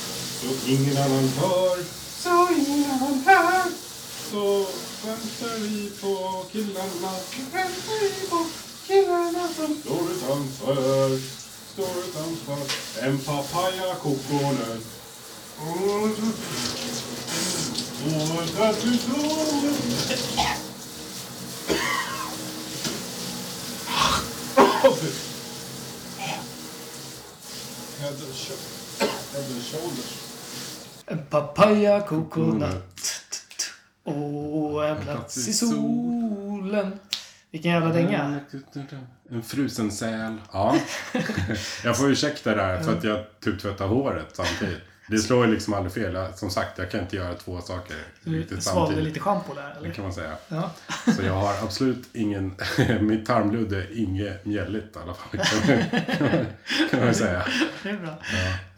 Speaker 3: så ingen annan hör, så ingen annan hör. Så väntar vi på killarna, väntar vi på killarna som står utanför, står utanför. En papaya kokonöt. Åh, att du tror Head and shoulders. Head and shoulders.
Speaker 2: En papaya coconut
Speaker 3: Mm.
Speaker 2: och en plats i solen. Vilken jävla
Speaker 3: Mm.
Speaker 2: dänga.
Speaker 3: En frusen säl. Ja. jag får ursäkta där för att jag typ tvättar håret samtidigt. Det slår ju liksom aldrig fel. Jag- Som sagt, jag kan inte göra två saker
Speaker 2: Du
Speaker 3: riktigt
Speaker 2: Mm, svalde
Speaker 3: samtidigt.
Speaker 2: lite schampo där
Speaker 3: Det
Speaker 2: eller?
Speaker 3: kan man säga.
Speaker 2: Ja.
Speaker 3: Så jag har absolut ingen... mitt tarmludd är inget mjälligt i alla fall. kan man säga.
Speaker 2: Det är bra.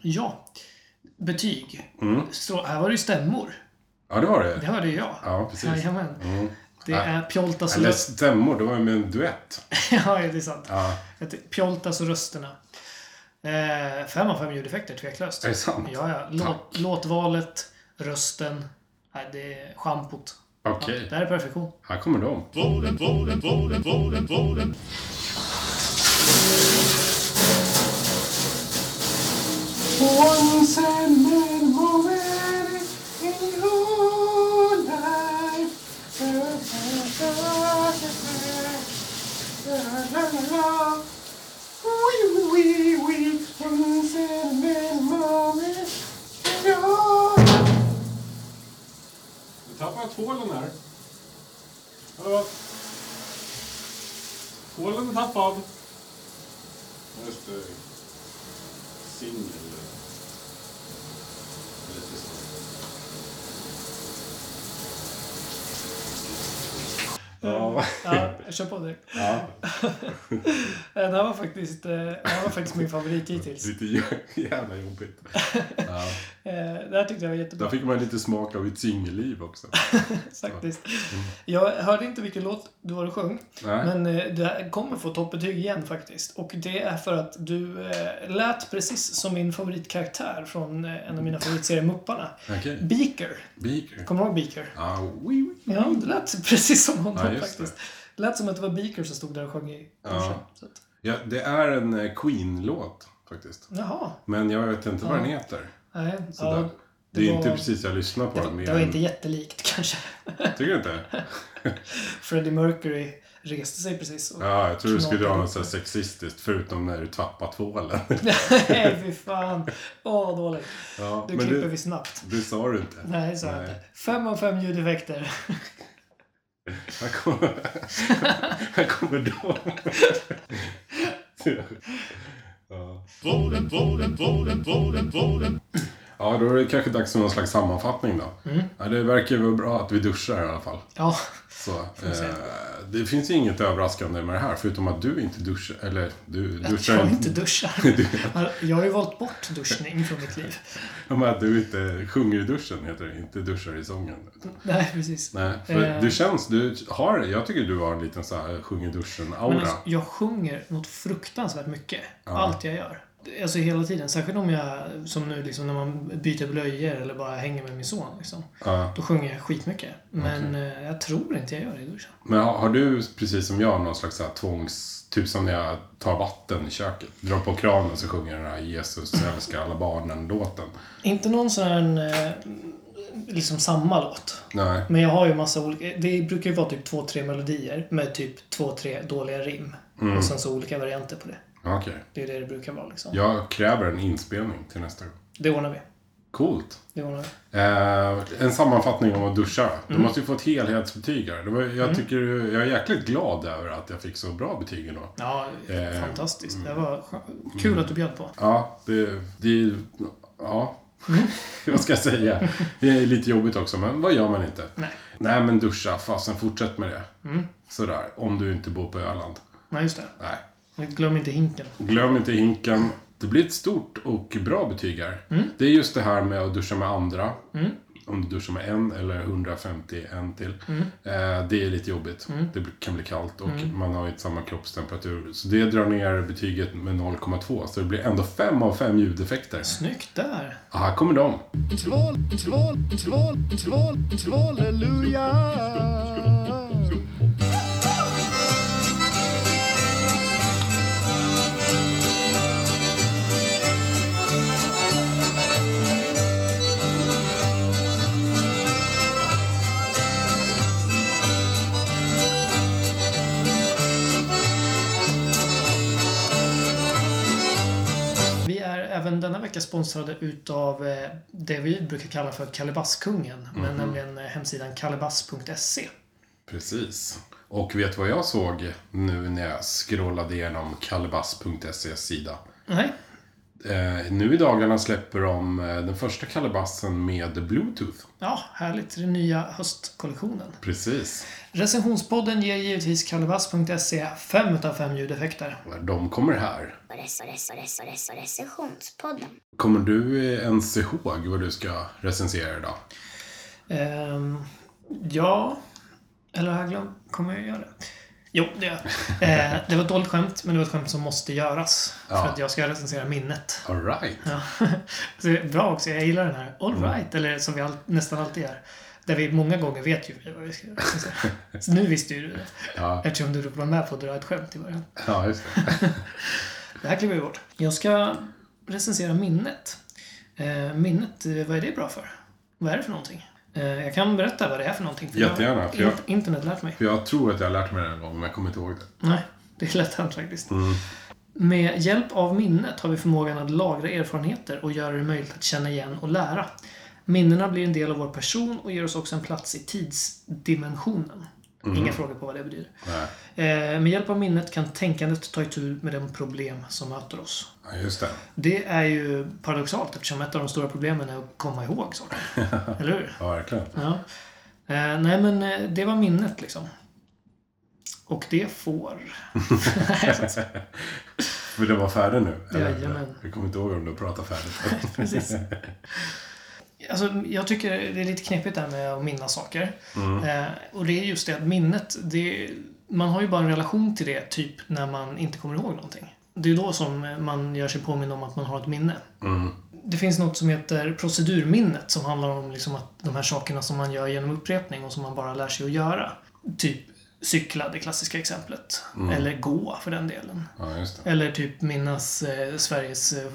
Speaker 2: Ja. Betyg.
Speaker 3: Mm.
Speaker 2: Så här var det ju stämmor.
Speaker 3: Ja, det var det.
Speaker 2: Det hörde ju jag.
Speaker 3: Ja, precis. Mm.
Speaker 2: Jajamän. Det är Pjoltas och
Speaker 3: Eller
Speaker 2: rösterna.
Speaker 3: stämmor, det var ju med en duett.
Speaker 2: ja, det är sant.
Speaker 3: Ja.
Speaker 2: Jag tycker Pjoltas och rösterna. Eh, fem av fem ljudeffekter, tveklöst.
Speaker 3: Är det sant?
Speaker 2: Ja, ja. Låt, låtvalet, rösten, nej, det är schampot.
Speaker 3: Okej,
Speaker 2: Det här är perfektion.
Speaker 3: här kommer de.
Speaker 5: våren, våren, våren, våren, våren.
Speaker 3: Once a man already in your life. Wee, wee, wee. Once a man moment in your life. Nu tappade jag tvålen här. Hallå? Tvålen är tappad.
Speaker 1: Just det. Singel. Lite så.
Speaker 3: Ja.
Speaker 2: Ja, jag kör på direkt.
Speaker 3: ja.
Speaker 2: Eh, Det här var faktiskt, eh, det här var faktiskt min favorit hittills.
Speaker 3: Lite jä- jävla jobbigt. Ja.
Speaker 2: Eh, Det här tyckte jag var jättebra
Speaker 3: Där fick man lite smak av ett singelliv också.
Speaker 2: faktiskt. Jag hörde inte vilken låt du var och sjöng.
Speaker 3: Nej.
Speaker 2: Men eh, det här kommer få toppbetyg igen faktiskt. Och det är för att du eh, lät precis som min favoritkaraktär från eh, en av mina favoritserier Mupparna.
Speaker 3: Okej.
Speaker 2: Beaker.
Speaker 3: Beaker.
Speaker 2: Kommer du ihåg Beaker?
Speaker 3: Ja, wee, wee.
Speaker 2: Ja, det lät precis som honom
Speaker 3: Ja, just det.
Speaker 2: faktiskt. Det lät som att det var Beaker som stod där och sjöng i
Speaker 3: Ja.
Speaker 2: morse. Så att-
Speaker 3: Ja, det är en eh, Queen-låt faktiskt.
Speaker 2: Jaha.
Speaker 3: Men jag vet inte vad den heter.
Speaker 2: Nej.
Speaker 3: Sådär.
Speaker 2: Ja,
Speaker 3: det är
Speaker 2: var-
Speaker 3: inte precis jag lyssnar på
Speaker 2: det,
Speaker 3: den.
Speaker 2: var,
Speaker 3: mer
Speaker 2: det var
Speaker 3: än-
Speaker 2: inte jättelikt kanske.
Speaker 3: Tycker du inte?
Speaker 2: Freddie Mercury reste sig precis och...
Speaker 3: Ja, jag tror du skulle dra
Speaker 2: Knapigt.
Speaker 3: något så här sexistiskt förutom när du tappar tvålen.
Speaker 2: Nej, fy fan. Åh, dåligt.
Speaker 3: Ja,
Speaker 2: Du
Speaker 3: men
Speaker 2: klipper
Speaker 3: det,
Speaker 2: vi snabbt.
Speaker 3: det sa du inte.
Speaker 2: Nej, så jag
Speaker 3: Nej.
Speaker 2: inte. Fem av fem ljudeffekter.
Speaker 3: Här kommer, här kommer de. ja.
Speaker 5: Våren, våren, våren, våren, våren.
Speaker 3: ja, då är det kanske dags för någon slags sammanfattning då.
Speaker 2: Mm.
Speaker 3: Ja, det verkar ju vara bra att vi duschar i alla fall.
Speaker 2: Ja,
Speaker 3: Så, eh, det finns ju inget överraskande med det här, förutom att du inte duschar. Eller du
Speaker 2: jag
Speaker 3: duschar
Speaker 2: tror inte duschar. Jag har ju valt bort duschning från mitt liv.
Speaker 3: Om att du inte sjunger i duschen heter det, inte duschar i sången.
Speaker 2: Nej, precis.
Speaker 3: Nej, för
Speaker 2: Eh.
Speaker 3: du känns, du har, jag tycker du har en liten så här sjung i duschen-aura.
Speaker 2: Men alltså, jag sjunger något fruktansvärt mycket. Allt jag gör. Alltså hela tiden. Särskilt om jag, som nu liksom när man byter blöjor eller bara hänger med min son. Liksom.
Speaker 3: Ja.
Speaker 2: Då sjunger jag skitmycket. Men eh, jag tror inte jag gör det i duschen.
Speaker 3: Men har, har du, precis som jag, någon slags så här tvångs... Typ som när jag tar vatten i köket, drar på kranen så sjunger den här Jesus älskar alla barnen-låten.
Speaker 2: Inte någon sån här, eh, liksom samma låt.
Speaker 3: Nej.
Speaker 2: Men jag har ju massa olika. Det brukar ju vara typ två, tre melodier med typ två, tre dåliga rim. Och sen så olika varianter på det.
Speaker 3: Okej.
Speaker 2: Det är det det brukar vara liksom.
Speaker 3: Jag kräver en inspelning till nästa gång.
Speaker 2: Det ordnar vi.
Speaker 3: Coolt.
Speaker 2: Det ordnar vi.
Speaker 3: Eh, en sammanfattning om att duscha. Du
Speaker 2: Mm.
Speaker 3: måste ju få ett helhetsbetyg här. Det var, jag, tycker, jag är jäkligt glad över att jag fick så bra betyg idag.
Speaker 2: Ja,
Speaker 3: Eh,
Speaker 2: fantastiskt. Det var skö- kul att du bjöd på.
Speaker 3: Ja, det, det Ja. Vad ska jag säga? Det är lite jobbigt också, men vad gör man inte?
Speaker 2: Nej.
Speaker 3: Nej, men duscha. Fasen, fortsätt med det. Sådär, om du inte bor på Öland.
Speaker 2: Nej, just det.
Speaker 3: Nej.
Speaker 2: Men Glöm inte hinken.
Speaker 3: Glöm inte hinken. Det blir ett stort och bra betyg här. Det är just det här med att duscha med andra. Om du duschar med en eller 150 en till. Eh, det är lite jobbigt. Det kan bli kallt och man har inte samma kroppstemperatur. Så det drar ner betyget med 0,2. Så det blir ändå 5 av 5 ljudeffekter.
Speaker 2: Snyggt där.
Speaker 3: Ja, här kommer de.
Speaker 6: Tvål, tvål, tvål, tvål, tvåleluja.
Speaker 2: Vi är även denna vecka sponsrade utav eh, det vi brukar kalla för Kalebasskungen. Men nämligen eh, hemsidan kalebass.se.
Speaker 3: Precis. Och vet du vad jag såg nu när jag scrollade igenom kalebass.se sida?
Speaker 2: Nej,
Speaker 3: Eh, nu i dagarna släpper de eh, den första kalebassen med Bluetooth.
Speaker 2: ja härligt. Den nya höstkollektionen.
Speaker 3: Precis.
Speaker 2: Recensionspodden ger givetvis kalebass.se 5 utav 5 ljudeffekter.
Speaker 3: De kommer här.
Speaker 4: Res- res- res- res- Recensionspodden.
Speaker 3: Kommer du eh, ens ihåg vad du ska recensera idag?
Speaker 2: Ehm, ja, eller har jag glömt? Kommer jag göra det? Jo, det gör jag. Eh, Det var ett dåligt skämt, men det var ett skämt som måste göras.
Speaker 3: Ja.
Speaker 2: För att jag ska recensera minnet.
Speaker 3: Alright. Mm.
Speaker 2: Ja. Så det är bra också, jag gillar den här. All right, eller som vi all, nästan alltid gör. Där vi många gånger vet ju vad vi ska göra. Så nu visste ju du det.
Speaker 3: Ja,
Speaker 2: Eftersom du var med på att dra ett skämt i början.
Speaker 3: ja just det.
Speaker 2: Det här klipper vi bort. Jag ska recensera minnet. Eh, Minnet, eh, vad är det bra för? Vad är det för någonting? Eh, Jag kan berätta vad det är för någonting. För
Speaker 3: Jättegärna,
Speaker 2: jag-
Speaker 3: för jag-
Speaker 2: in- Internet lärt mig.
Speaker 3: För jag tror att jag har lärt mig det en gång, men jag kommer inte ihåg det.
Speaker 2: Nej, det är lätt hänt faktiskt.
Speaker 3: Mm.
Speaker 2: Med hjälp av minnet har vi förmågan att lagra erfarenheter och göra det möjligt att känna igen och lära. Minnena blir en del av vår person och ger oss också en plats i tidsdimensionen.
Speaker 3: Mm.
Speaker 2: Inga frågor på vad det betyder.
Speaker 3: Nej.
Speaker 2: Eh, med hjälp av minnet kan tänkandet ta itu med de problem som möter oss.
Speaker 3: Ja, just det.
Speaker 2: Det är ju paradoxalt eftersom ett av de stora problemen är att komma ihåg saker. Eller hur?
Speaker 3: Ja, verkligen.
Speaker 2: Ja. Eh, nej, men eh, det var minnet liksom. Och det får...
Speaker 3: För det var färdig nu? eller?
Speaker 2: Jajamän.
Speaker 3: Jag kommer inte ihåg om du pratar färdigt.
Speaker 2: Precis. Alltså, jag tycker det är lite knepigt det här med att minnas saker. Eh, och det är just det att minnet, det, man har ju bara en relation till det typ när man inte kommer ihåg någonting. Det är då som man gör sig påminn om att man har ett minne. Det finns något som heter procedurminnet som handlar om liksom att de här sakerna som man gör genom upprepning och som man bara lär sig att göra. Typ cykla, det klassiska exemplet. Eller gå för den delen.
Speaker 3: Ja, just det.
Speaker 2: Eller typ minnas eh, Sveriges eh,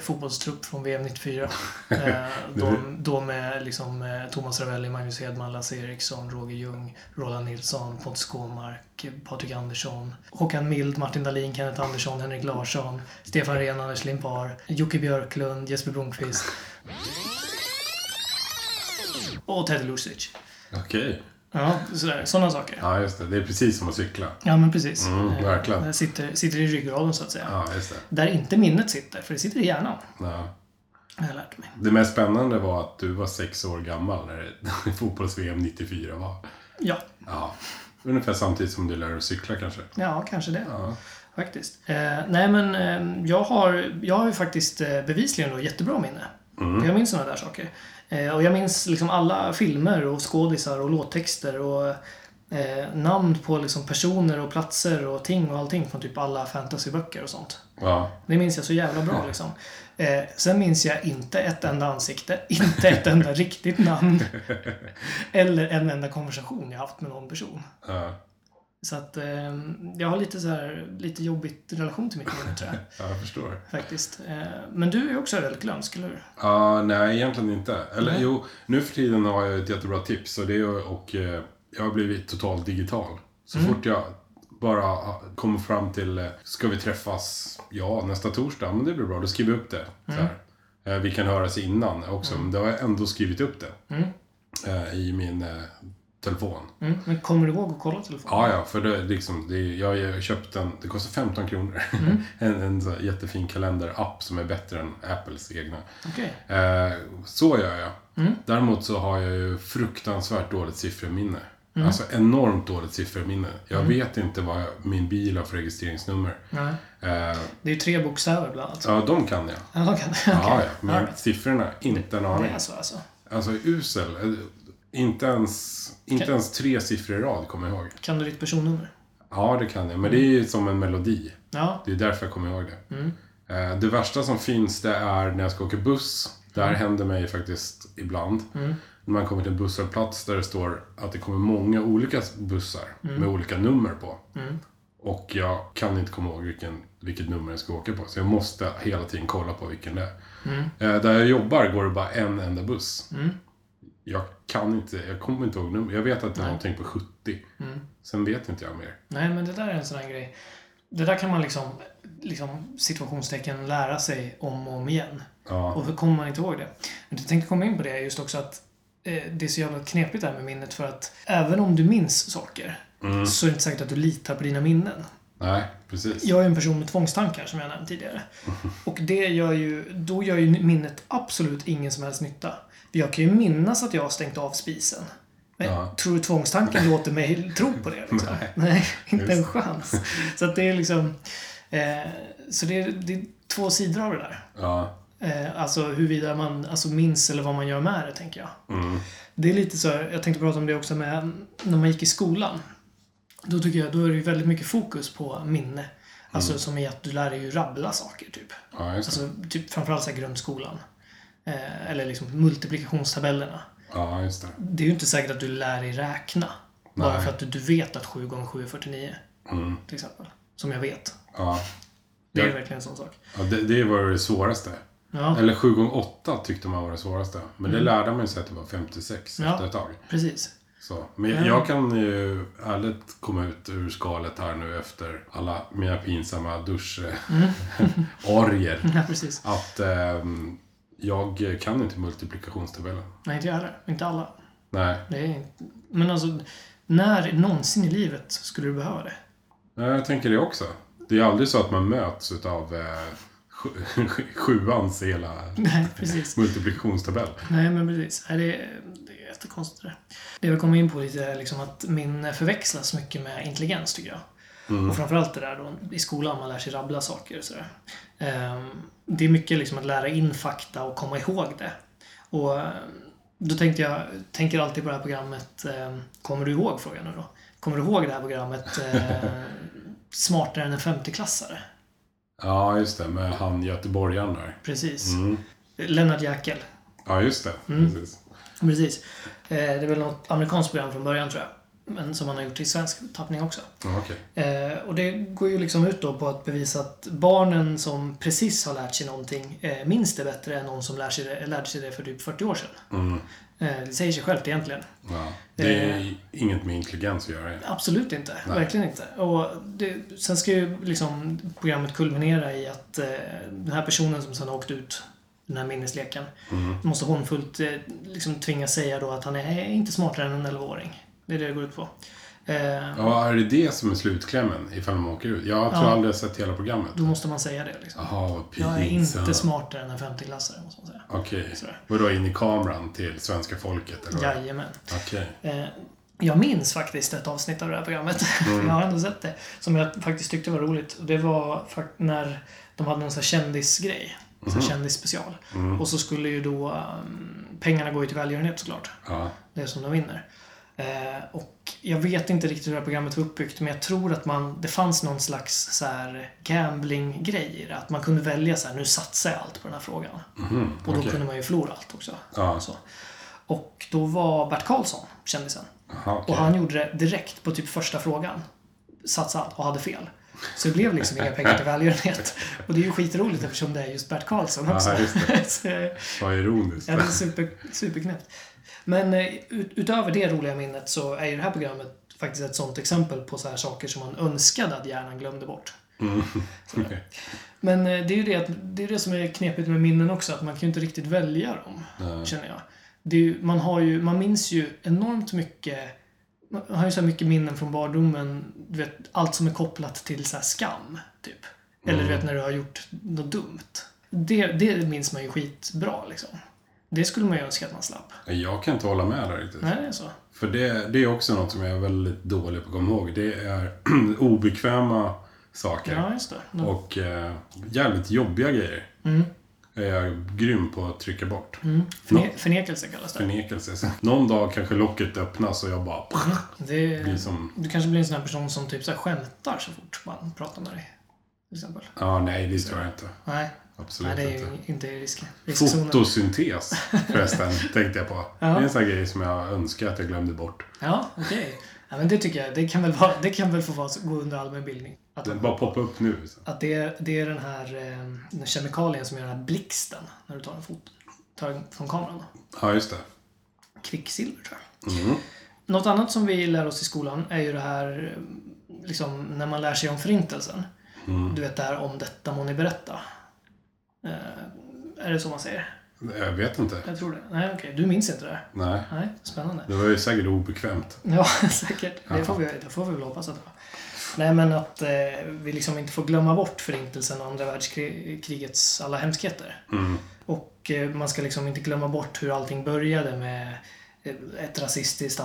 Speaker 2: fotbollstrupp från VM 94. Eh, de, de med liksom, eh, Thomas Ravelli, Magnus Hedman, Lasse Eriksson, Roger Ljung, Roland Nilsson, Pontus Kåmark, eh, Patrik Andersson, Håkan Mild, Martin Dahlin, Kenneth Andersson, Henrik Larsson, Stefan Rehn, Anders Limpar, Jocke Björklund, Jesper Blomqvist. Och Teddy Lucic.
Speaker 3: Okej.
Speaker 2: Ja, sådär. Sådana saker.
Speaker 3: Ja, just det. Det är precis som att cykla.
Speaker 2: Ja, men precis.
Speaker 3: Mm,
Speaker 2: Eh,
Speaker 3: verkligen.
Speaker 2: det Sitter, sitter i ryggraden så att säga.
Speaker 3: Ja, just det.
Speaker 2: Där inte minnet sitter, för det sitter i hjärnan.
Speaker 3: Ja.
Speaker 2: har jag lärt mig.
Speaker 3: Det mest spännande var att du var sex år gammal när det- fotbolls-VM 94 var.
Speaker 2: Ja,
Speaker 3: Ja. Ungefär samtidigt som du lär dig cykla kanske.
Speaker 2: ja kanske det.
Speaker 3: Ja.
Speaker 2: Faktiskt. Eh, nej men eh, jag, har, jag har ju faktiskt eh, bevisligen då jättebra minne. För Jag minns sådana där saker. Eh, och jag minns liksom alla filmer och skådisar och låttexter och eh, namn på liksom personer och platser och ting och allting från typ alla fantasyböcker och sånt.
Speaker 3: Ja.
Speaker 2: Det minns jag så jävla bra liksom. Eh, sen minns jag inte ett enda ansikte, inte ett enda riktigt namn. Eller en enda konversation jag haft med någon person.
Speaker 3: Ja.
Speaker 2: Så att eh, jag har lite så här, lite jobbigt relation till mitt minne tror jag.
Speaker 3: ja, jag förstår.
Speaker 2: Faktiskt. Eh, men du är också väldigt glömsk, eller hur?
Speaker 3: Ja, nej, egentligen inte. Eller jo, nu för tiden har jag ett jättebra tips. Och det är och eh, jag har blivit totalt digital. Så fort jag bara ha- kommer fram till, eh, ska vi träffas, ja, nästa torsdag, men det blir bra, då skriver jag upp det. Så här. Eh, Vi kan höras innan också, men då har jag ändå skrivit upp det. eh, I min eh, telefon.
Speaker 2: Mm. Men kommer du ihåg att kolla telefonen?
Speaker 3: Ja, ja, för det, är liksom, det, är- jag har ju köpt en, det kostar 15 kronor. en en så här jättefin kalenderapp som är bättre än Apples egna.
Speaker 2: Okej.
Speaker 3: Eh, så gör jag.
Speaker 2: Mm.
Speaker 3: Däremot så har jag ju fruktansvärt dåligt sifferminne.
Speaker 2: Mm.
Speaker 3: Alltså enormt dåligt sifferminne. Jag vet inte vad jag, min bil har för registreringsnummer.
Speaker 2: Nej.
Speaker 3: Eh,
Speaker 2: Det är ju tre bokstäver bland annat.
Speaker 3: ja, de kan jag.
Speaker 2: Ja, de kan
Speaker 3: Ja,
Speaker 2: okej.
Speaker 3: ja, men
Speaker 2: Alright.
Speaker 3: siffrorna, inte en
Speaker 2: Det
Speaker 3: aning.
Speaker 2: är så alltså.
Speaker 3: Alltså usel. Eh, Inte ens, inte
Speaker 2: Kan-
Speaker 3: ens tre siffror i rad kommer jag ihåg.
Speaker 2: Kan du ditt personnummer?
Speaker 3: Ja, det kan jag. Men det
Speaker 2: Mm.
Speaker 3: är ju som en melodi.
Speaker 2: Ja.
Speaker 3: Det är därför jag kommer ihåg det. Eh, Det värsta som finns det är när jag ska åka buss. Det här händer mig faktiskt ibland. När man kommer till en busshållplats där det står att det kommer många olika bussar med olika nummer på. Och jag kan inte komma ihåg vilken, vilket nummer jag ska åka på. Så jag måste hela tiden kolla på vilken det är. Eh, Där jag jobbar går det bara en enda buss. Jag kan inte, jag kommer inte ihåg nummer. Jag vet att det är någonting på 70. Sen vet inte jag mer.
Speaker 2: Nej, men det där är en sån här grej. Det där kan man liksom, liksom situationstecken lära sig om och om igen.
Speaker 3: Ja.
Speaker 2: Och hur kommer man inte ihåg det? Men jag tänkte komma in på det just också att eh, det är så jävla knepigt det här med minnet för att även om du minns saker så är det inte säkert att du litar på dina minnen.
Speaker 3: Nej, precis.
Speaker 2: Jag är en person med tvångstankar som jag nämnt tidigare. Och det gör ju, då gör ju minnet absolut ingen som helst nytta. Jag kan ju minnas att jag har stängt av spisen. Men
Speaker 3: Ja.
Speaker 2: tror du tvångstanken låter mig tro på det? Liksom? Nej. inte en
Speaker 3: Just
Speaker 2: chans. Så att det är liksom... Eh, så det är, det är två sidor av det där.
Speaker 3: Ja.
Speaker 2: Eh, alltså huruvida man alltså, minns eller vad man gör med det, tänker jag.
Speaker 3: mm.
Speaker 2: Det är lite så här, jag tänkte prata om det också med när man gick i skolan. Då tycker jag, då är det ju väldigt mycket fokus på minne.
Speaker 3: Mm.
Speaker 2: Alltså som i att du lär dig ju rabbla saker, typ.
Speaker 3: Ja, just det.
Speaker 2: Alltså typ framförallt så här grundskolan. Eh, eller liksom multiplikationstabellerna.
Speaker 3: Ja, just det.
Speaker 2: Det är ju inte säkert att du lär dig räkna. Bara
Speaker 3: Nej.
Speaker 2: för att du, du vet att 7 gånger 7 är 49. Till exempel. Som jag vet.
Speaker 3: Mm. Ja.
Speaker 2: Det är
Speaker 3: Ja.
Speaker 2: verkligen en sån sak.
Speaker 3: Ja, det, det var det svåraste.
Speaker 2: Ja,
Speaker 3: Eller 7 gånger 8 tyckte man var det svåraste. Men det lärde man sig att det var 56
Speaker 2: Mm. Ja.
Speaker 3: efter ett tag.
Speaker 2: precis.
Speaker 3: Så. Men
Speaker 2: Ja.
Speaker 3: jag kan ju ärligt komma ut ur skalet här nu efter alla mina pinsamma duschorger.
Speaker 2: Ja, precis.
Speaker 3: Att ehm, jag kan inte multiplikationstabellen.
Speaker 2: Nej, inte jag heller. Inte alla.
Speaker 3: Nej,
Speaker 2: Det är... inte- Men alltså, när någonsin i livet skulle du behöva det?
Speaker 3: Nej, jag tänker det också. Det är aldrig så att man möts utav eh, sju- sjuans hela
Speaker 2: Nej, precis.
Speaker 3: multiplikationstabell.
Speaker 2: Nej, men precis. Nej, det, är, det är jättekonstigt det där. Det jag kommer in på lite är liksom att minne förväxlas mycket med intelligens, tycker jag. Och framförallt det där då, i skolan man lär sig rabbla saker och sådär. Ehm, det är mycket liksom att lära in fakta och komma ihåg det. Och eh, då tänkte jag, tänker alltid på det här programmet, ehm, kommer du ihåg frågan nu då? Kommer du ihåg det här programmet eh, Smartare än en 50-klassare?
Speaker 3: Ja, just det. Med han göteborgaren där.
Speaker 2: Precis.
Speaker 3: Mm.
Speaker 2: Lennart Jäkel.
Speaker 3: Ja, just det.
Speaker 2: Mm.
Speaker 3: Precis.
Speaker 2: Precis. Eh, Det är väl något amerikanskt program från början tror jag. Men som han har gjort i svensk tappning också.
Speaker 3: Ja, okej.
Speaker 2: Eh, Och det går ju liksom ut då på att bevisa att barnen som precis har lärt sig någonting eh, minns det bättre än någon som lär sig det, lärde sig det för typ 40 år sedan. Eh, Det säger sig självt egentligen.
Speaker 3: Mm. Ja. Det
Speaker 2: Eh.
Speaker 3: är inget med intelligens att göra.
Speaker 2: Absolut inte. Verkligen inte. Och det, sen ska ju liksom programmet kulminera i att eh, den här personen som sen har åkt ut den här minnesleken måste hånfullt eh, liksom tvingas säga då att han är inte smartare än en 11-åring. Det är det det går ut på. Eh,
Speaker 3: Ja, är det det som är slutklämmen ifall man åker ut? Jag tror
Speaker 2: Ja.
Speaker 3: aldrig jag sett hela programmet.
Speaker 2: då måste man säga det liksom.
Speaker 3: Jaha, vad
Speaker 2: Jag är
Speaker 3: pinsamt.
Speaker 2: inte smartare än en 50-klassare, måste man säga.
Speaker 3: Okej.
Speaker 2: Sådär.
Speaker 3: Vadå, in i kameran till svenska folket? Eller? vad?
Speaker 2: Jajamän.
Speaker 3: Okej.
Speaker 2: Eh, jag minns faktiskt ett avsnitt av det här programmet. jag har ändå sett det. Som jag faktiskt tyckte var roligt. Och Det var fakt- när de hade någon sån här kändisgrej. Mm. kändisspecial. Och så skulle ju då um, pengarna gå ju till välgörenhet såklart.
Speaker 3: Ja.
Speaker 2: Det är som de vinner. Eh, och jag vet inte riktigt hur det här programmet var uppbyggt men jag tror att man, det fanns någon slags så här gambling-grej i det. Att man kunde välja så här, nu satsar jag allt på den här frågan. och då
Speaker 3: okej.
Speaker 2: kunde man ju förlora allt också.
Speaker 3: Ja.
Speaker 2: Så. Och då var Bert Karlsson kändisen.
Speaker 3: Jaha, okej.
Speaker 2: Och han gjorde det direkt på typ första frågan. Satsa allt och hade fel. Så det blev liksom inga pengar till välgörenhet. Och det är ju skitroligt eftersom det är just Bert Karlsson också.
Speaker 3: Ja, just
Speaker 2: Så, eh,
Speaker 3: Vad ironiskt.
Speaker 2: ja, det är super, superknäppt. Men eh, ut, utöver det roliga minnet så är ju det här programmet faktiskt ett sånt exempel på så här saker som man önskade att hjärnan glömde bort.
Speaker 3: Okej.
Speaker 2: Men eh, det är ju det, att, det, är det som är knepigt med minnen också, att man kan ju inte riktigt välja dem, känner jag. Det är ju, man, har ju, man minns ju enormt mycket, man har ju så här mycket minnen från barndomen, du vet, allt som är kopplat till så här skam, typ. Eller du vet när du har gjort något dumt. Det, det minns man ju skitbra liksom. Det skulle man ju önska att man slapp.
Speaker 3: Jag kan inte hålla med där riktigt.
Speaker 2: Nej, det är så.
Speaker 3: För det, det är också något som jag är väldigt dålig på att komma ihåg. Det är obekväma saker.
Speaker 2: Ja, just det. Då-
Speaker 3: Och eh, jävligt jobbiga grejer.
Speaker 2: Mm.
Speaker 3: Är jag grym på att trycka bort.
Speaker 2: Förne, förnekelse kallas det.
Speaker 3: Förnekelse. Så Någon dag kanske locket öppnas och jag bara... liksom,
Speaker 2: det
Speaker 3: blir som-
Speaker 2: Du kanske blir en sån här person som typ så här skämtar så fort man pratar med dig. Till exempel.
Speaker 3: Ja, nej, det tror jag inte.
Speaker 2: Nej,
Speaker 3: Absolut
Speaker 2: Nej det är ju
Speaker 3: inte.
Speaker 2: inte i risk, riskzonen.
Speaker 3: Fotosyntes förresten, tänkte jag på. Det är en sån här grej som jag önskar att jag glömde bort.
Speaker 2: Ja, okej. Ja, men det tycker jag. Det kan väl, vara, det kan väl få vara, gå under allmän bildning. Att,
Speaker 3: Den bara poppar upp nu. liksom. Så.
Speaker 2: att det, är, det är den här eh, den kemikalien som gör den här blixten när du tar en fot. Tar den från kameran. Då.
Speaker 3: Ja, just det.
Speaker 2: kvicksilver tror jag.
Speaker 3: Mm.
Speaker 2: Något annat som vi lär oss i skolan är ju det här eh, liksom, när man lär sig om förintelsen.
Speaker 3: Mm.
Speaker 2: Du vet det här om detta må ni berätta. Eh, är det så man säger?
Speaker 3: Jag vet inte.
Speaker 2: Jag tror det. Nej, okej. Du minns inte det? här.
Speaker 3: Nej.
Speaker 2: Nej, spännande.
Speaker 3: Det var ju säkert obekvämt.
Speaker 2: Ja, säkert. Det får vi, det får vi väl hoppas att det var. Nej, men att eh, vi liksom inte får glömma bort Förintelsen och andra världskrigets alla hemskheter.
Speaker 3: Mm.
Speaker 2: Och eh, man ska liksom inte glömma bort hur allting började med eh, ett rasistiskt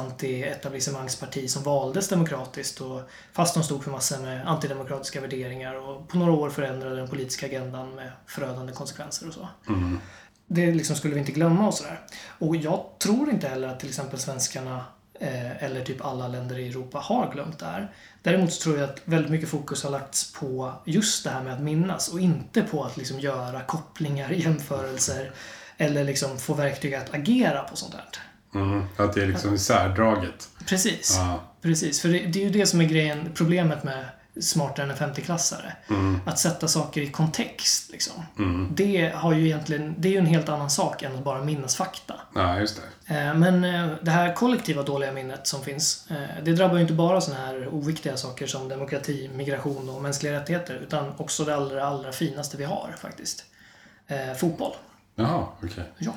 Speaker 2: anti-etablissemangsparti som valdes demokratiskt och fast de stod för massor med antidemokratiska värderingar och på några år förändrade den politiska agendan med förödande konsekvenser och så. Det liksom skulle vi inte glömma och sådär. Och jag tror inte heller att till exempel svenskarna eh, eller typ alla länder i Europa har glömt det här. Däremot så tror jag att väldigt mycket fokus har lagts på just det här med att minnas och inte på att liksom göra kopplingar, jämförelser eller liksom få verktyg att agera på sånt här.
Speaker 3: Mm, att det är liksom isärdraget.
Speaker 2: Precis.
Speaker 3: Ja.
Speaker 2: Precis, för det, det är ju det som är grejen, problemet med smartare än en 50-klassare. Att sätta saker i kontext. Liksom. Det, har ju egentligen, det är ju en helt annan sak än att bara minnas fakta.
Speaker 3: Ja, just det.
Speaker 2: Eh, Men eh, det här kollektiva dåliga minnet som finns, eh, det drabbar ju inte bara sådana här oviktiga saker som demokrati, migration och mänskliga rättigheter, utan också det allra, allra finaste vi har faktiskt. Eh, Fotboll.
Speaker 3: Jaha, okej.
Speaker 2: Ja.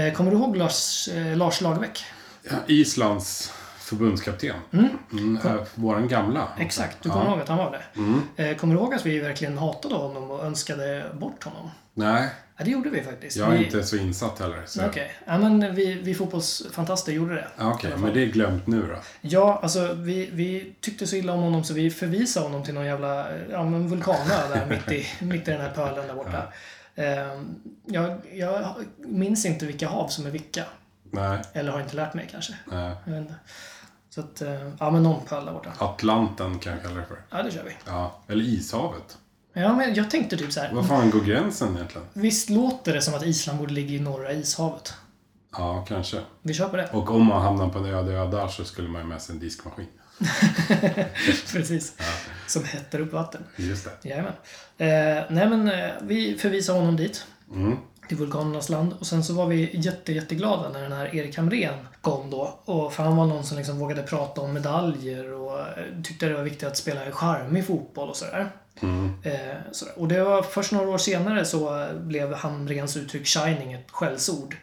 Speaker 2: Eh, Kommer du ihåg Lars, eh, Lars Lagerbäck?
Speaker 3: Ja, Islands förbundskapten. Mm, äh, våran gamla.
Speaker 2: Exakt, du kommer ihåg att han var det.
Speaker 3: Mm.
Speaker 2: Eh, Kommer du ihåg att vi verkligen hatade honom och önskade bort honom?
Speaker 3: Nej,
Speaker 2: Ja, det gjorde vi faktiskt.
Speaker 3: jag är
Speaker 2: vi...
Speaker 3: inte så insatt heller. Så
Speaker 2: Okej, ja, men vi, vi fotbollsfantaster gjorde det.
Speaker 3: Ja, Okej, men det är glömt nu då.
Speaker 2: Ja, alltså vi, vi tyckte så illa om honom så vi förvisade honom till någon jävla eh, ja, men vulkanö där mitt i, mitt i den här pölen där borta. Eh, Jag, jag minns inte vilka hav som är vilka.
Speaker 3: Nej,
Speaker 2: Eller har inte lärt mig kanske.
Speaker 3: nej.
Speaker 2: Jag vet inte. Så att, eh, ja men någon pöl där borta.
Speaker 3: Atlanten kan jag kalla det för.
Speaker 2: Ja, det kör vi.
Speaker 3: Ja, eller Ishavet.
Speaker 2: Ja, men jag tänkte typ så här.
Speaker 3: Var fan går gränsen egentligen?
Speaker 2: Visst låter det som att Island borde ligga i norra ishavet?
Speaker 3: Ja, kanske.
Speaker 2: Vi kör på det.
Speaker 3: Och om man hamnar på en öde ö där så skulle man ju med sig en diskmaskin.
Speaker 2: Precis. Som hettar upp vatten.
Speaker 3: Just det.
Speaker 2: Jajamän. Eh, nej men eh, vi förvisade honom dit. Till vulkanernas land. Och sen så var vi jätte, jätteglada när den här Erik Hamrén kom då. Och för han var någon som liksom vågade prata om medaljer och eh, tyckte det var viktigt att spela charmig fotboll och sådär. Eh, sådär. Och det var först några år senare så blev Hamréns uttryck shining ett skällsord.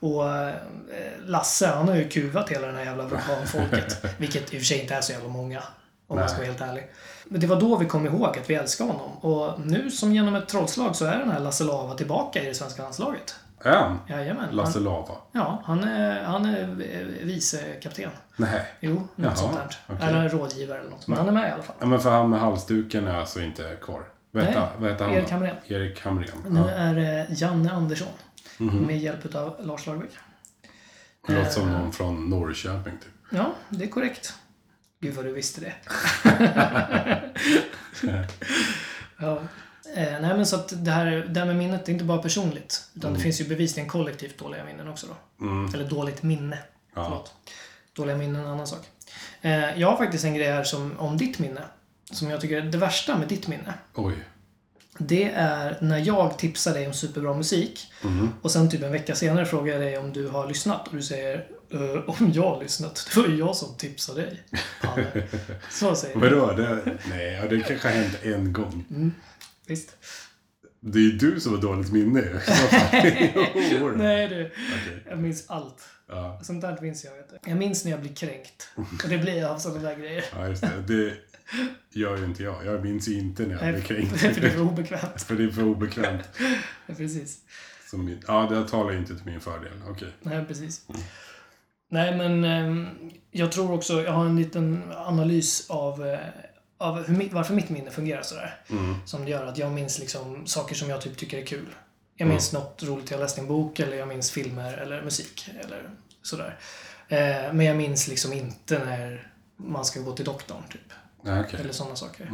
Speaker 2: Och eh, Lasse, han har ju kuvat hela den här jävla vulkanfolket. vilket i och för sig inte är så jävla många. Om man ska vara helt ärlig. Men det var då vi kom ihåg att vi älskar honom. Och nu som genom ett trollslag så är den här Lasse Lava tillbaka i det svenska landslaget.
Speaker 3: Ön,
Speaker 2: Jajamän.
Speaker 3: Lasse
Speaker 2: Han,
Speaker 3: Lava.
Speaker 2: ja, han är, han är eh, vicekapten.
Speaker 3: Nej.
Speaker 2: Jo, något
Speaker 3: Jaha,
Speaker 2: sånt där.
Speaker 3: okej.
Speaker 2: Eller rådgivare eller något. Men han är med i alla fall.
Speaker 3: Ja, men för han med halsduken är alltså inte kvar. Vänta,
Speaker 2: Nej,
Speaker 3: vad heter han då?
Speaker 2: Erik Hamrén.
Speaker 3: Erik Hamrén.
Speaker 2: Nu
Speaker 3: Ja.
Speaker 2: är det Janne Andersson. Med hjälp av Lars Lagerbäck.
Speaker 3: Det låter som någon från Norrköping typ.
Speaker 2: Ja, det är korrekt. Gud vad du visste det. ja. eh, nej men så att det här, det här med minnet, det är inte bara personligt. Utan det finns ju bevisligen kollektivt dåliga minnen också då. Eller dåligt minne. Förlåt. Dåliga minnen är en annan sak. Eh, jag har faktiskt en grej här som, om ditt minne. Som jag tycker är det värsta med ditt minne.
Speaker 3: Oj.
Speaker 2: Det är när jag tipsar dig om superbra musik
Speaker 3: Mm.
Speaker 2: och sen typ en vecka senare frågar jag dig om du har lyssnat och du säger "Eh, om jag har lyssnat, det var ju jag som tipsade dig. Palle." Så säger du.
Speaker 3: Vadå? Det, nej, ja, det kanske har hänt en gång.
Speaker 2: Visst?
Speaker 3: Det är ju du som har dåligt minne ju. I så fall. Jo.
Speaker 2: Nej du,
Speaker 3: Okej.
Speaker 2: jag minns allt.
Speaker 3: Ja,
Speaker 2: Sånt där minns jag. Vet du. Jag minns när jag blir kränkt. Och det blir jag av sådana där grejer.
Speaker 3: ja, just det. Det gör ju inte jag. Jag minns ju inte när jag blev
Speaker 2: För det
Speaker 3: kränkt.
Speaker 2: är för obekvämt.
Speaker 3: För det är för obekvämt.
Speaker 2: Precis.
Speaker 3: Som min, ja, det här talar ju inte till min fördel. Okej.
Speaker 2: Nej, precis. Nej, men ehm, jag tror också, jag har en liten analys av, eh, av hur, mitt- varför mitt minne fungerar sådär. Som det gör att jag minns liksom saker som jag typ tycker är kul. Jag minns något roligt jag läst i en bok eller jag minns filmer eller musik eller sådär. Eh, men jag minns liksom inte när man ska gå till doktorn typ.
Speaker 3: Nej, okej.
Speaker 2: Eller sådana saker.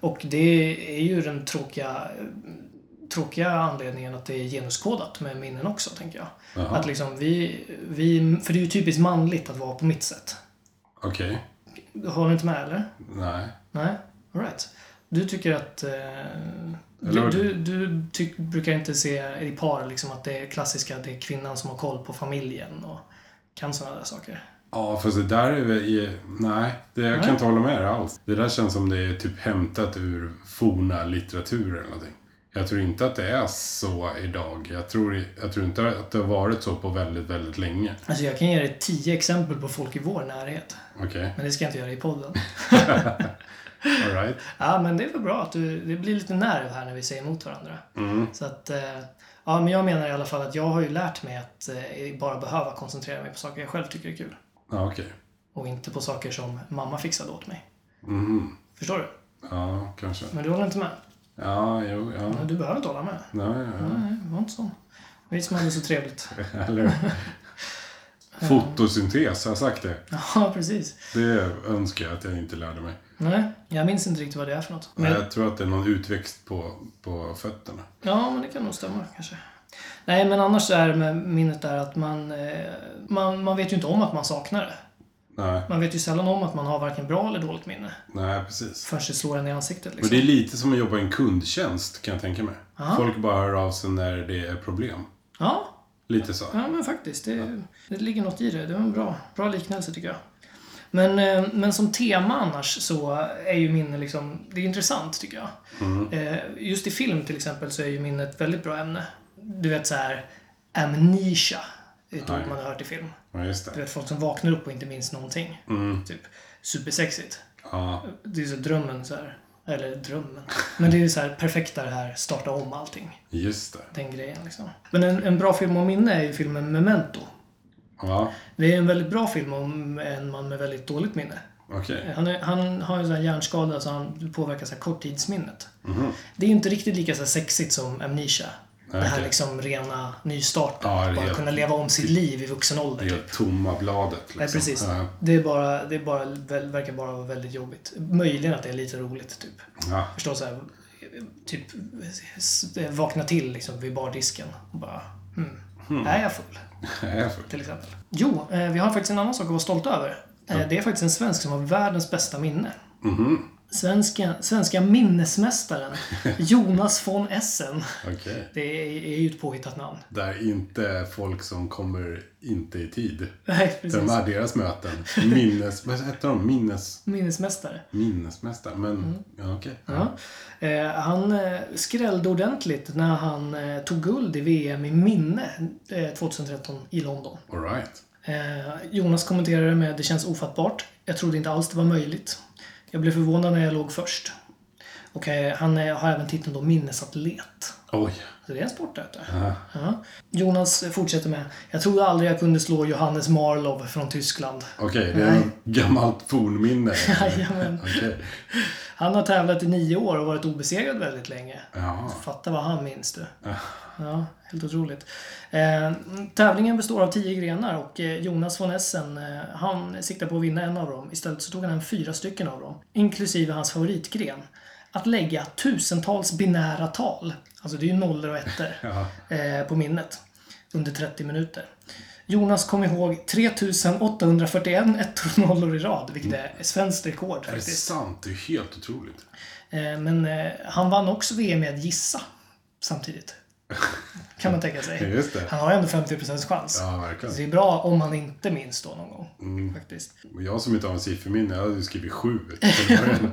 Speaker 2: Och det är ju den tråkiga, tråkiga anledningen att det är genuskodat med minnen också, tänker jag.
Speaker 3: Jaha.
Speaker 2: Att liksom vi, vi, för det är ju typiskt manligt att vara på mitt sätt.
Speaker 3: Okej.
Speaker 2: Håller du inte med eller?
Speaker 3: Nej.
Speaker 2: Nej? Alright. Du tycker att... Eh,
Speaker 3: Eller-
Speaker 2: du du, du tyck, brukar inte se i par liksom att det är klassiska, det är kvinnan som har koll på familjen och kan sådana där saker.
Speaker 3: Ja, fast det där är väl... i- Nej, det, jag kan inte hålla med dig alls. Det där känns som det är typ hämtat ur forna litteratur eller någonting. Jag tror inte att det är så idag. Jag tror, i- jag tror inte att det har varit så på väldigt, väldigt länge.
Speaker 2: Alltså jag kan ge dig tio exempel på folk i vår närhet.
Speaker 3: Okej,
Speaker 2: Men det ska jag inte göra i podden.
Speaker 3: okay. alright.
Speaker 2: Ja, men det är väl bra att du, det blir lite nerv här när vi säger emot varandra. Så att, eh, ja, men jag menar i alla fall att jag har ju lärt mig att eh, bara behöva koncentrera mig på saker jag själv tycker är kul.
Speaker 3: Ja, okej.
Speaker 2: Och inte på saker som mamma fixade åt mig. Förstår du?
Speaker 3: Ja, kanske.
Speaker 2: Men du håller inte med?
Speaker 3: Ja, jo, ja.
Speaker 2: Men Du behöver inte hålla med.
Speaker 3: Nej, ja.
Speaker 2: Nej, var inte sån. Vi som hade så trevligt.
Speaker 3: Eller... Fotosyntes, har jag sagt det?
Speaker 2: Ja, precis.
Speaker 3: Det önskar jag att jag inte lärde mig.
Speaker 2: Nej, jag minns inte riktigt vad det är för något.
Speaker 3: Men
Speaker 2: Men,
Speaker 3: jag tror att det är någon utväxt på, på fötterna.
Speaker 2: ja, men det kan nog stämma kanske. Nej, men annars är det med minnet är att man, eh, man, man vet ju inte om att man saknar det.
Speaker 3: Nej,
Speaker 2: Man vet ju sällan om att man har varken bra eller dåligt minne
Speaker 3: nej precis.
Speaker 2: förrän det slår en i ansiktet.
Speaker 3: Och
Speaker 2: Liksom.
Speaker 3: det är lite som att jobba i en kundtjänst kan jag tänka mig. Folk bara hör av sig när det är problem.
Speaker 2: Ja,
Speaker 3: Lite så.
Speaker 2: ja, men faktiskt. Det, det ligger något i det. Det var en bra, bra liknelse tycker jag. Men, eh, men som tema annars så är ju minne liksom, det är intressant tycker jag.
Speaker 3: Mm.
Speaker 2: Eh, Just i film till exempel så är ju minne ett väldigt bra ämne. Du vet så här, amnesia. Det är ett ord man har hört i film.
Speaker 3: Ja, just
Speaker 2: Du
Speaker 3: det.
Speaker 2: vet folk som vaknar upp och inte minns någonting.
Speaker 3: Mm.
Speaker 2: Typ supersexigt.
Speaker 3: Ja,
Speaker 2: Det är så drömmen så här. Eller drömmen. Men det är ju så här perfekta det här, starta om allting.
Speaker 3: just det.
Speaker 2: Den grejen liksom. Men en, en bra film om minne är ju filmen Memento.
Speaker 3: Ja,
Speaker 2: Det är en väldigt bra film om en man med väldigt dåligt minne.
Speaker 3: okej.
Speaker 2: Han, är, han har en sån här hjärnskada så han påverkar så här korttidsminnet.
Speaker 3: Mhm.
Speaker 2: Det är inte riktigt lika så här sexigt som amnesia. Det här
Speaker 3: okej.
Speaker 2: liksom rena nystarten.
Speaker 3: Ja, det är
Speaker 2: bara
Speaker 3: helt-
Speaker 2: kunna leva om sitt liv i vuxen ålder.
Speaker 3: Det är
Speaker 2: typ.
Speaker 3: ju tomma bladet liksom.
Speaker 2: Nej, precis.
Speaker 3: Ja,
Speaker 2: Det, är bara, det är bara, väl, verkar bara vara väldigt jobbigt. Möjligen att det är lite roligt, typ.
Speaker 3: ja.
Speaker 2: Förstås så här, typ s- vakna till liksom vid bardisken och bara hmm, är jag full?
Speaker 3: Jag är full.
Speaker 2: Till exempel. Jo, eh, vi har faktiskt en annan sak att vara stolta över. Eh, Det är faktiskt en svensk som har världens bästa minne. Svenska, svenska minnesmästaren Jonas von Essen.
Speaker 3: Okej.
Speaker 2: Det är, är ju ett påhittat namn.
Speaker 3: Där inte folk som kommer inte i tid.
Speaker 2: Nej,
Speaker 3: Där de
Speaker 2: precis.
Speaker 3: här deras möten. Minnes... Vad heter de? Minnes...
Speaker 2: Minnesmästare.
Speaker 3: Minnesmästare? Men, ja okej.
Speaker 2: Mm. Ja. Eh, han eh, skrällde ordentligt när han eh, tog guld i VM i minne eh, 2013 i London.
Speaker 3: Alright.
Speaker 2: Eh, Jonas kommenterade med “Det känns ofattbart. Jag trodde inte alls det var möjligt. Jag blev förvånad när jag låg först.” Och eh, han eh, har även titeln då “Minnesatlet”.
Speaker 3: Oj.
Speaker 2: Så det är en sport det heter. Ja. Jonas fortsätter med “Jag trodde aldrig jag kunde slå Johannes Marlow från Tyskland.
Speaker 3: Okej, det är ett gammalt fornminne.
Speaker 2: Jajamän.
Speaker 3: Okej.
Speaker 2: Han har tävlat i nio år och varit obesegrad väldigt länge.
Speaker 3: Ja.
Speaker 2: Fatta vad han minns du. Ja, helt otroligt. Eh, tävlingen består av tio grenar och eh, Jonas von Essen, eh, han siktar på att vinna en av dem. Istället så tog han hem fyra stycken av dem, inklusive hans favoritgren. Att lägga tusentals binära tal, alltså det är ju nollor och ettor, eh, på minnet under 30 minuter. Jonas kom ihåg 3841 ettor och nollor i rad, vilket är svenskt rekord
Speaker 3: Är det
Speaker 2: faktiskt.
Speaker 3: sant? Det är helt otroligt.
Speaker 2: Eh, Men eh, han vann också VM med att gissa samtidigt. Kan man tänka sig.
Speaker 3: Just det.
Speaker 2: Han har ju ändå 50% chans.
Speaker 3: Ja, Mm.
Speaker 2: Så det
Speaker 3: verkligen.
Speaker 2: är bra om han inte minns då någon gång. Faktiskt.
Speaker 3: Och jag som inte har en sifferminne, jag hade ju skrivit sju.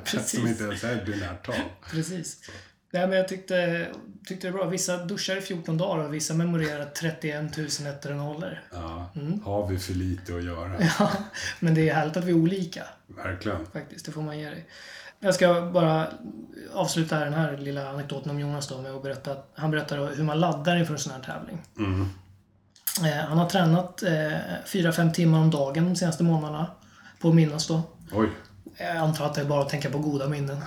Speaker 2: precis.
Speaker 3: som inte ens är ett binärt tal.
Speaker 2: Precis. Nej, men jag tyckte, tyckte det var bra. Vissa duschar i 14 dagar och vissa memorerar 31 000 ettor och nollor.
Speaker 3: Ja. Har vi för lite att göra?
Speaker 2: Ja, men det är härligt att vi är olika.
Speaker 3: Verkligen.
Speaker 2: faktiskt. Det får man ge dig. Jag ska bara avsluta den här lilla anekdoten om Jonas då med att berätta att han berättar då hur man laddar inför en sån här tävling. Eh, han har tränat eh, 4-5 timmar om dagen de senaste månaderna på att minnas då.
Speaker 3: Oj.
Speaker 2: Jag antar att det är bara att tänka på goda minnen.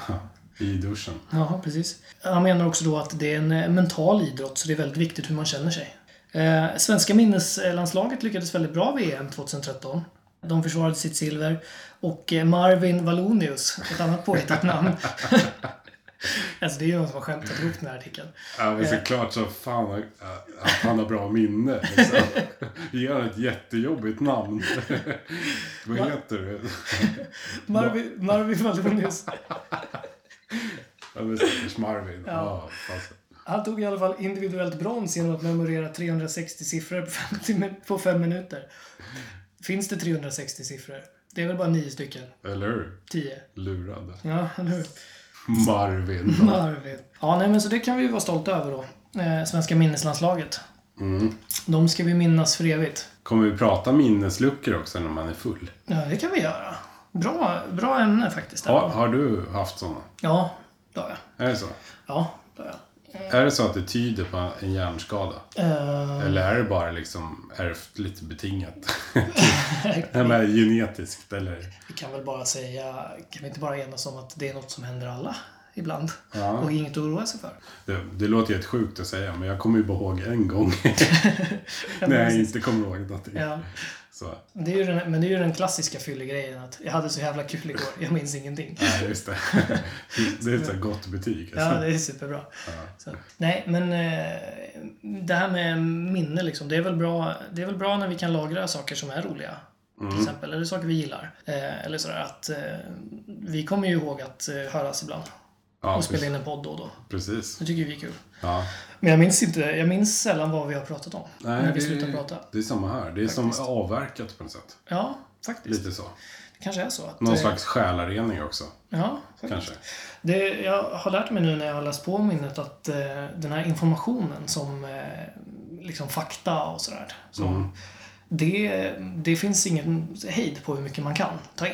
Speaker 3: I duschen.
Speaker 2: Ja, precis. Han menar också då att det är en eh, mental idrott, så det är väldigt viktigt hur man känner sig. Eh, svenska minneslandslaget lyckades väldigt bra VM 2013. De försvarade sitt silver. Och eh, Marvin Wallonius, ett annat påhittat namn. alltså det är ju någon som har skämtat ihop den här artikeln.
Speaker 3: Ja, men såklart så fan äh, att han har bra minne. Liksom. Ge honom ett jättejobbigt namn. Vad heter du?
Speaker 2: Marvin, Marvin Wallonius,
Speaker 3: Ja, men Stackars Marvin. Ja. fast,
Speaker 2: han tog i alla fall individuellt brons genom att memorera 360 siffror på 50 min- på fem minuter. Finns det 360 siffror? Det är väl bara nio stycken?
Speaker 3: eller hur?
Speaker 2: Tio?
Speaker 3: Lurad.
Speaker 2: Ja, eller hur?
Speaker 3: Marvin.
Speaker 2: Marvin. Ja, nej, men så det kan vi ju vara stolta över då. Eh, svenska minneslandslaget. De ska vi minnas för evigt.
Speaker 3: Kommer vi prata minnesluckor också när man är full?
Speaker 2: Ja, det kan vi göra. Bra, bra ämne faktiskt.
Speaker 3: Har, har du haft sådana?
Speaker 2: Ja, det har jag.
Speaker 3: Är det så?
Speaker 2: Ja, det har jag.
Speaker 3: Är det så att det tyder på en hjärnskada?
Speaker 2: Eh,
Speaker 3: Eller är det bara liksom ärftligt betingat? Nej, men genetiskt eller?
Speaker 2: vi kan väl bara säga, kan vi inte bara enas om att det är något som händer alla? ibland.
Speaker 3: Ja.
Speaker 2: Och inget att oroa sig för.
Speaker 3: Det, det låter ju helt sjukt att säga, men jag kommer ju bara ihåg en gång när jag inte kommer ihåg någonting.
Speaker 2: Ja.
Speaker 3: Så,
Speaker 2: Det är ju den, men det är ju den klassiska fyllegrejen att jag hade så jävla kul igår, jag minns ingenting.
Speaker 3: nej, just det. det är ett så här gott betyg.
Speaker 2: Ja,
Speaker 3: Alltså.
Speaker 2: det är superbra. Så, nej, men eh, det här med minne liksom. Det är, väl bra, det är väl bra när vi kan lagra saker som är roliga.
Speaker 3: Mm.
Speaker 2: Till exempel, eller saker vi gillar. Eh, eller sådär att eh, vi kommer ju ihåg att eh, höras ibland.
Speaker 3: Ja,
Speaker 2: och spela
Speaker 3: precis.
Speaker 2: in en podd då och då.
Speaker 3: precis.
Speaker 2: Det tycker vi är kul.
Speaker 3: Ja.
Speaker 2: Men jag minns, inte, jag minns sällan vad vi har pratat om. när vi
Speaker 3: det-
Speaker 2: slutar prata.
Speaker 3: Det är samma här. Det är som avverkat på något sätt.
Speaker 2: Ja, faktiskt.
Speaker 3: Lite så.
Speaker 2: Det kanske är så. Att,
Speaker 3: Någon
Speaker 2: eh,
Speaker 3: slags själarening också,
Speaker 2: Ja, faktiskt.
Speaker 3: kanske.
Speaker 2: Det, jag har lärt mig nu när jag har läst på om minnet att eh, den här informationen som eh, liksom fakta och sådär. Så,
Speaker 3: Mm.
Speaker 2: det, det finns ingen hejd på hur mycket man kan ta in.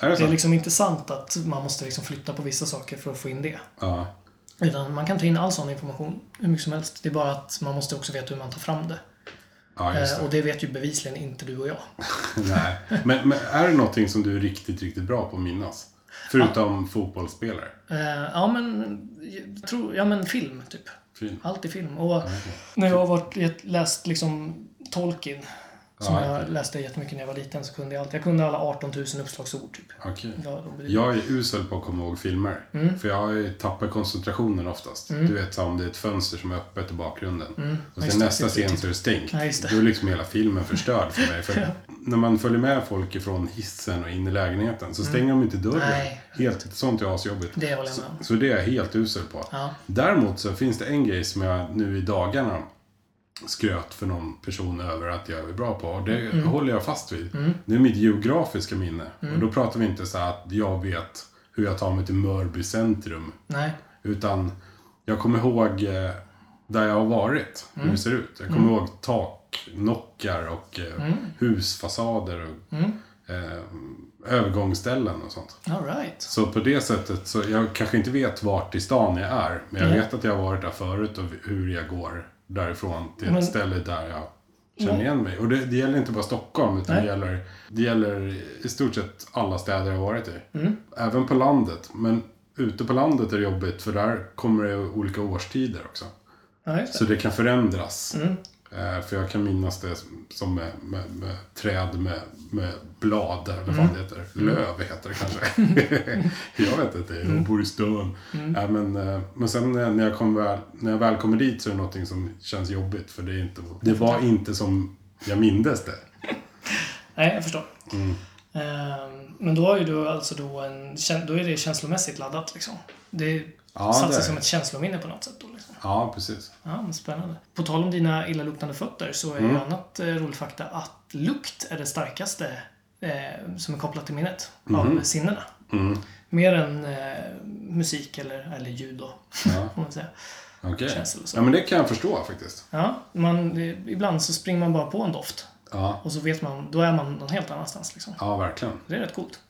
Speaker 3: Är det
Speaker 2: Det
Speaker 3: så?
Speaker 2: är liksom inte sant att man måste liksom flytta på vissa saker för att få in det.
Speaker 3: Ja.
Speaker 2: Utan man kan ta in all sån information hur mycket som helst. Det är bara att man måste också veta hur man tar fram det.
Speaker 3: ja, just
Speaker 2: Eh,
Speaker 3: det.
Speaker 2: och det vet ju bevisligen inte du och jag.
Speaker 3: Nej. Men, men är det någonting som du är riktigt, riktigt bra på att minnas? Förutom fotbollsspelare.
Speaker 2: Eh, ja, men, jag tror, ja, men film typ.
Speaker 3: Fin.
Speaker 2: Allt i film. Och när jag har varit, gett- läst liksom Tolkien, som
Speaker 3: Ja,
Speaker 2: jag läste jättemycket när jag var liten, så kunde jag allt. Jag kunde alla 18 000 uppslagsord typ.
Speaker 3: Okej.
Speaker 2: Ja, de blir-
Speaker 3: Jag är usel på att komma ihåg filmer.
Speaker 2: Mm.
Speaker 3: För jag tappar koncentrationen oftast. Du vet så om det är ett fönster som är öppet i bakgrunden. Och
Speaker 2: Mm. just
Speaker 3: sen
Speaker 2: det,
Speaker 3: nästa
Speaker 2: just det,
Speaker 3: scen
Speaker 2: typ.
Speaker 3: så är det stängt.
Speaker 2: Ja, just det.
Speaker 3: Då är liksom hela filmen förstörd för mig. För när man följer med folk ifrån hissen och in i lägenheten så stänger de inte dörren.
Speaker 2: Mm. Nej.
Speaker 3: Helt, sånt är asjobbigt.
Speaker 2: Det håller jag
Speaker 3: så,
Speaker 2: med om.
Speaker 3: så det är jag helt usel på.
Speaker 2: Ja.
Speaker 3: Däremot så finns det en grej som jag nu i dagarna skröt för någon person över att jag är bra på. Och Det håller jag fast vid. Det är mitt geografiska minne. Och då pratar vi inte så här att jag vet hur jag tar mig till Mörby centrum.
Speaker 2: Nej.
Speaker 3: Utan jag kommer ihåg eh, där jag har varit, hur det ser ut. Jag kommer ihåg taknockar och eh, husfasader och eh, övergångsställen och sånt.
Speaker 2: All right.
Speaker 3: Så på det sättet, så jag kanske inte vet vart i stan jag är, men jag vet att jag har varit där förut och hur jag går därifrån till ett
Speaker 2: Men-
Speaker 3: ställe där jag känner igen mig. Och det, det gäller inte bara Stockholm, utan det gäller, det gäller i stort sett alla städer jag har varit i. Även på landet, men ute på landet är det jobbigt för där kommer det olika årstider också.
Speaker 2: Ja, just
Speaker 3: Så
Speaker 2: det.
Speaker 3: det kan förändras.
Speaker 2: Mm.
Speaker 3: Eh, För jag kan minnas det som- som med, med, med träd med, med blad, eller vad
Speaker 2: Mm.
Speaker 3: fan det heter. Löv heter det kanske. jag vet inte,
Speaker 2: Mm.
Speaker 3: jag bor i stan. Eh, Men, eh, men sen när när jag, kom väl, när jag väl kommer dit så är det någonting som känns jobbigt. För det, är inte, det var inte som jag mindes det.
Speaker 2: Nej, jag förstår.
Speaker 3: Mm.
Speaker 2: Ehm, men då har ju du alltså då en, kän- då är det känslomässigt laddat liksom. Det
Speaker 3: Ja, det
Speaker 2: satsar
Speaker 3: är
Speaker 2: som
Speaker 3: det.
Speaker 2: ett känslominne på något sätt då liksom.
Speaker 3: Ja, precis.
Speaker 2: Ja, men spännande. På tal om dina illaluktande fötter så är ju annat eh, roligt fakta att lukt är det starkaste eh, som är kopplat till minnet av sinnena. Mer än eh, musik eller, eller ljud då,
Speaker 3: Ja.
Speaker 2: får man säga.
Speaker 3: Okej.
Speaker 2: Känns det så.
Speaker 3: Ja, men det kan jag förstå faktiskt.
Speaker 2: Ja, man, eh, ibland så springer man bara på en doft
Speaker 3: Ja,
Speaker 2: och så vet man, då är man någon helt annanstans liksom.
Speaker 3: ja verkligen.
Speaker 2: Det är rätt coolt.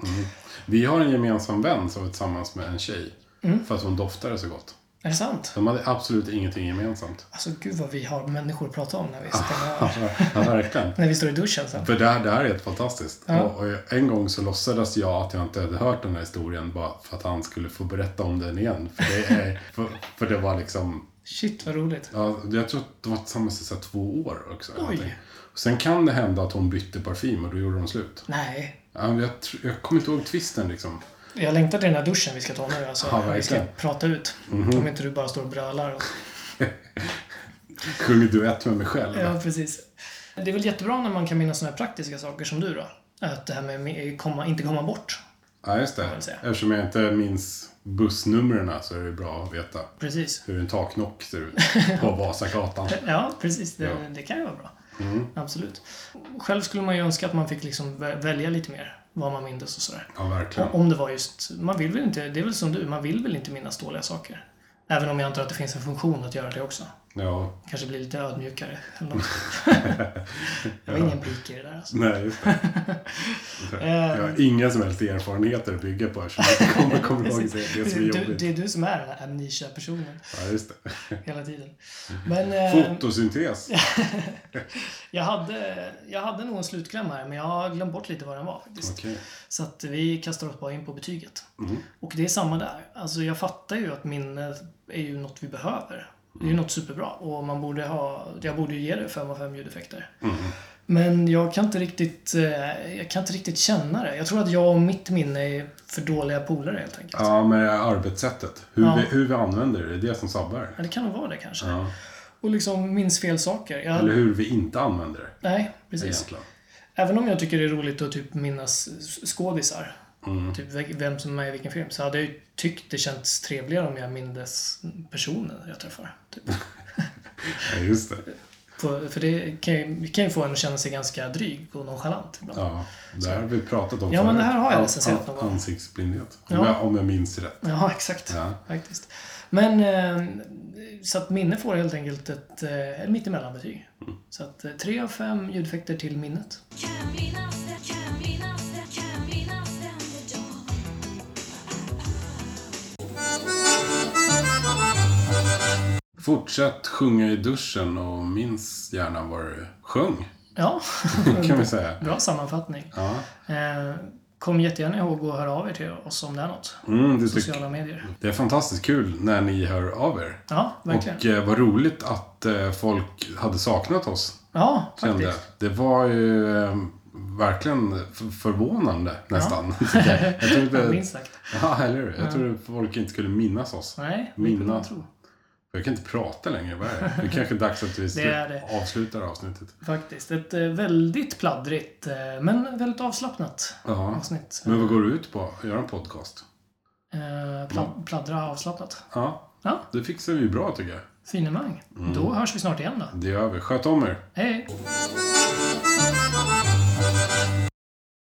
Speaker 3: Vi har en gemensam vän som var tillsammans med en tjej.
Speaker 2: Mm.
Speaker 3: För att hon doftade så gott.
Speaker 2: Är det sant?
Speaker 3: De hade absolut ingenting gemensamt.
Speaker 2: Alltså gud vad vi har människor att prata om när vi, stänger,
Speaker 3: Ja, verkligen.
Speaker 2: när vi står i duschen sen.
Speaker 3: För det här, det här är helt fantastiskt. Och, och en gång så låtsades jag att jag inte hade hört den här historien bara för att han skulle få berätta om den igen. För det, är, för, för det var liksom...
Speaker 2: Shit vad roligt.
Speaker 3: Ja, jag tror att de var tillsammans i så här två år också. eller
Speaker 2: Oj.
Speaker 3: någonting. Och sen kan det hända att hon bytte parfym och då gjorde de slut.
Speaker 2: Nej,
Speaker 3: Ja, men Jag, tr- jag kommer inte ihåg twisten liksom.
Speaker 2: Jag längtar till den här duschen vi ska ta nu. Alltså,
Speaker 3: Ja,
Speaker 2: vi ska
Speaker 3: verkligen. Mhm.
Speaker 2: prata ut. Om inte du bara står och brölar. Och...
Speaker 3: Sjunger duett med mig själv.
Speaker 2: Ja, precis. Det är väl jättebra när man kan minnas sådana här praktiska saker som du då. Att det här med- med komma, inte komma bort.
Speaker 3: Ja, just
Speaker 2: väl
Speaker 3: det.
Speaker 2: säga.
Speaker 3: Eftersom jag inte minns bussnumren så är det bra att veta
Speaker 2: Precis.
Speaker 3: hur en taknock ser ut på Vasagatan.
Speaker 2: Ja, precis. Det,
Speaker 3: Ja. Mhm.
Speaker 2: det kan ju vara bra. Absolut. Själv skulle man ju önska att man fick liksom vä- välja lite mer vad man mindes och sådär.
Speaker 3: Ja, verkligen.
Speaker 2: Om det var just, man vill väl inte, det är väl som du, man vill väl inte minnas dåliga saker. Även om jag antar att det finns en funktion att göra det också.
Speaker 3: Ja,
Speaker 2: Kanske bli lite ödmjukare. Eller något. Jag var ingen pik i det där alltså. Eh,
Speaker 3: nej just det. Jag har inga som helst erfarenheter att bygga på eftersom jag inte kommer, kommer ihåg det, det som är
Speaker 2: Du, du, det
Speaker 3: jobbigt.
Speaker 2: är du som är den här amnesia-personen
Speaker 3: Ja, just det.
Speaker 2: hela tiden. Men, eh,
Speaker 3: Fotosyntes.
Speaker 2: jag, hade, jag hade nog en slutkläm här, men jag har glömt bort lite vad den var faktiskt.
Speaker 3: Okej.
Speaker 2: Så att vi kastar oss bara in på betyget.
Speaker 3: Mm.
Speaker 2: Och det är samma där. Alltså jag fattar ju att minnet är ju något vi behöver. Det
Speaker 3: Mm.
Speaker 2: är ju något superbra och man borde ha, jag borde ju ge det 5 av 5 ljudeffekter.
Speaker 3: Mm.
Speaker 2: Men jag kan, inte riktigt, eh, jag kan inte riktigt känna det. Jag tror att jag och mitt minne är för dåliga polare helt enkelt.
Speaker 3: Ja, men arbetssättet. Hur,
Speaker 2: Ja.
Speaker 3: vi, hur vi använder det, det är det som sabbar det.
Speaker 2: Ja, det kan nog vara det kanske.
Speaker 3: Ja.
Speaker 2: Och liksom minns fel saker. Jag,
Speaker 3: Eller hur vi inte använder det.
Speaker 2: Nej, precis.
Speaker 3: Egentligen.
Speaker 2: Även om jag tycker det är roligt att typ minnas skådisar,
Speaker 3: Mm.
Speaker 2: typ ve- vem som är med i vilken film, så hade jag ju tyckt det känts trevligare om jag mindes personen jag träffar. Typ.
Speaker 3: Ja, just det.
Speaker 2: För, för det kan ju, kan ju få en att känna sig ganska dryg och nonchalant ibland. Ja.
Speaker 3: Ja, det här har vi pratat om
Speaker 2: Ja, men
Speaker 3: förut.
Speaker 2: det här har jag
Speaker 3: An-
Speaker 2: recenserat någon
Speaker 3: an-
Speaker 2: gång.
Speaker 3: Ansiktsblindhet.
Speaker 2: Ja.
Speaker 3: Om, jag, om jag minns rätt.
Speaker 2: exakt.
Speaker 3: Ja.
Speaker 2: Faktiskt. Men, eh, så att minne får helt enkelt ett eh, mittemellanbetyg.
Speaker 3: Mm.
Speaker 2: Så att eh, tre av fem ljudeffekter till minnet.
Speaker 7: Can't be nothing, can't be nothing, can't be nothing at all.
Speaker 3: Fortsätt sjunga i duschen och minns gärna vad du sjöng.
Speaker 2: Ja,
Speaker 3: Kan vi säga.
Speaker 2: bra sammanfattning.
Speaker 3: Ja.
Speaker 2: Eh, kom jättegärna ihåg att höra av er till oss om det är något.
Speaker 3: Mm, det, tycker-
Speaker 2: Sociala medier.
Speaker 3: det är fantastiskt kul när ni hör av er.
Speaker 2: Ja, verkligen.
Speaker 3: Och eh, vad roligt att eh, folk hade saknat oss.
Speaker 2: Ja,
Speaker 3: Kände. jag.
Speaker 2: faktiskt.
Speaker 3: Det var ju eh, verkligen f- förvånande nästan. jag
Speaker 2: Ja,
Speaker 3: trodde,
Speaker 2: minst sagt.
Speaker 3: ja, eller hur? Jag trodde folk inte skulle minnas oss.
Speaker 2: Nej,
Speaker 3: Minna.
Speaker 2: vilket man tror.
Speaker 3: Jag kan inte prata längre. Vad är det? Det är kanske är dags att vi
Speaker 2: Det är det.
Speaker 3: avslutar avsnittet.
Speaker 2: Faktiskt. Ett eh, väldigt pladdrigt, eh, men väldigt avslappnat
Speaker 3: Ja.
Speaker 2: avsnitt.
Speaker 3: Men vad går det ut på? Göra en podcast?
Speaker 2: Eh, pla- pladdra avslappnat.
Speaker 3: Ja,
Speaker 2: Ja,
Speaker 3: det fixar vi bra tycker jag. Mm.
Speaker 2: finemang. Då hörs vi snart igen då.
Speaker 3: Det gör vi. Sköt om er.
Speaker 2: Hej! hej.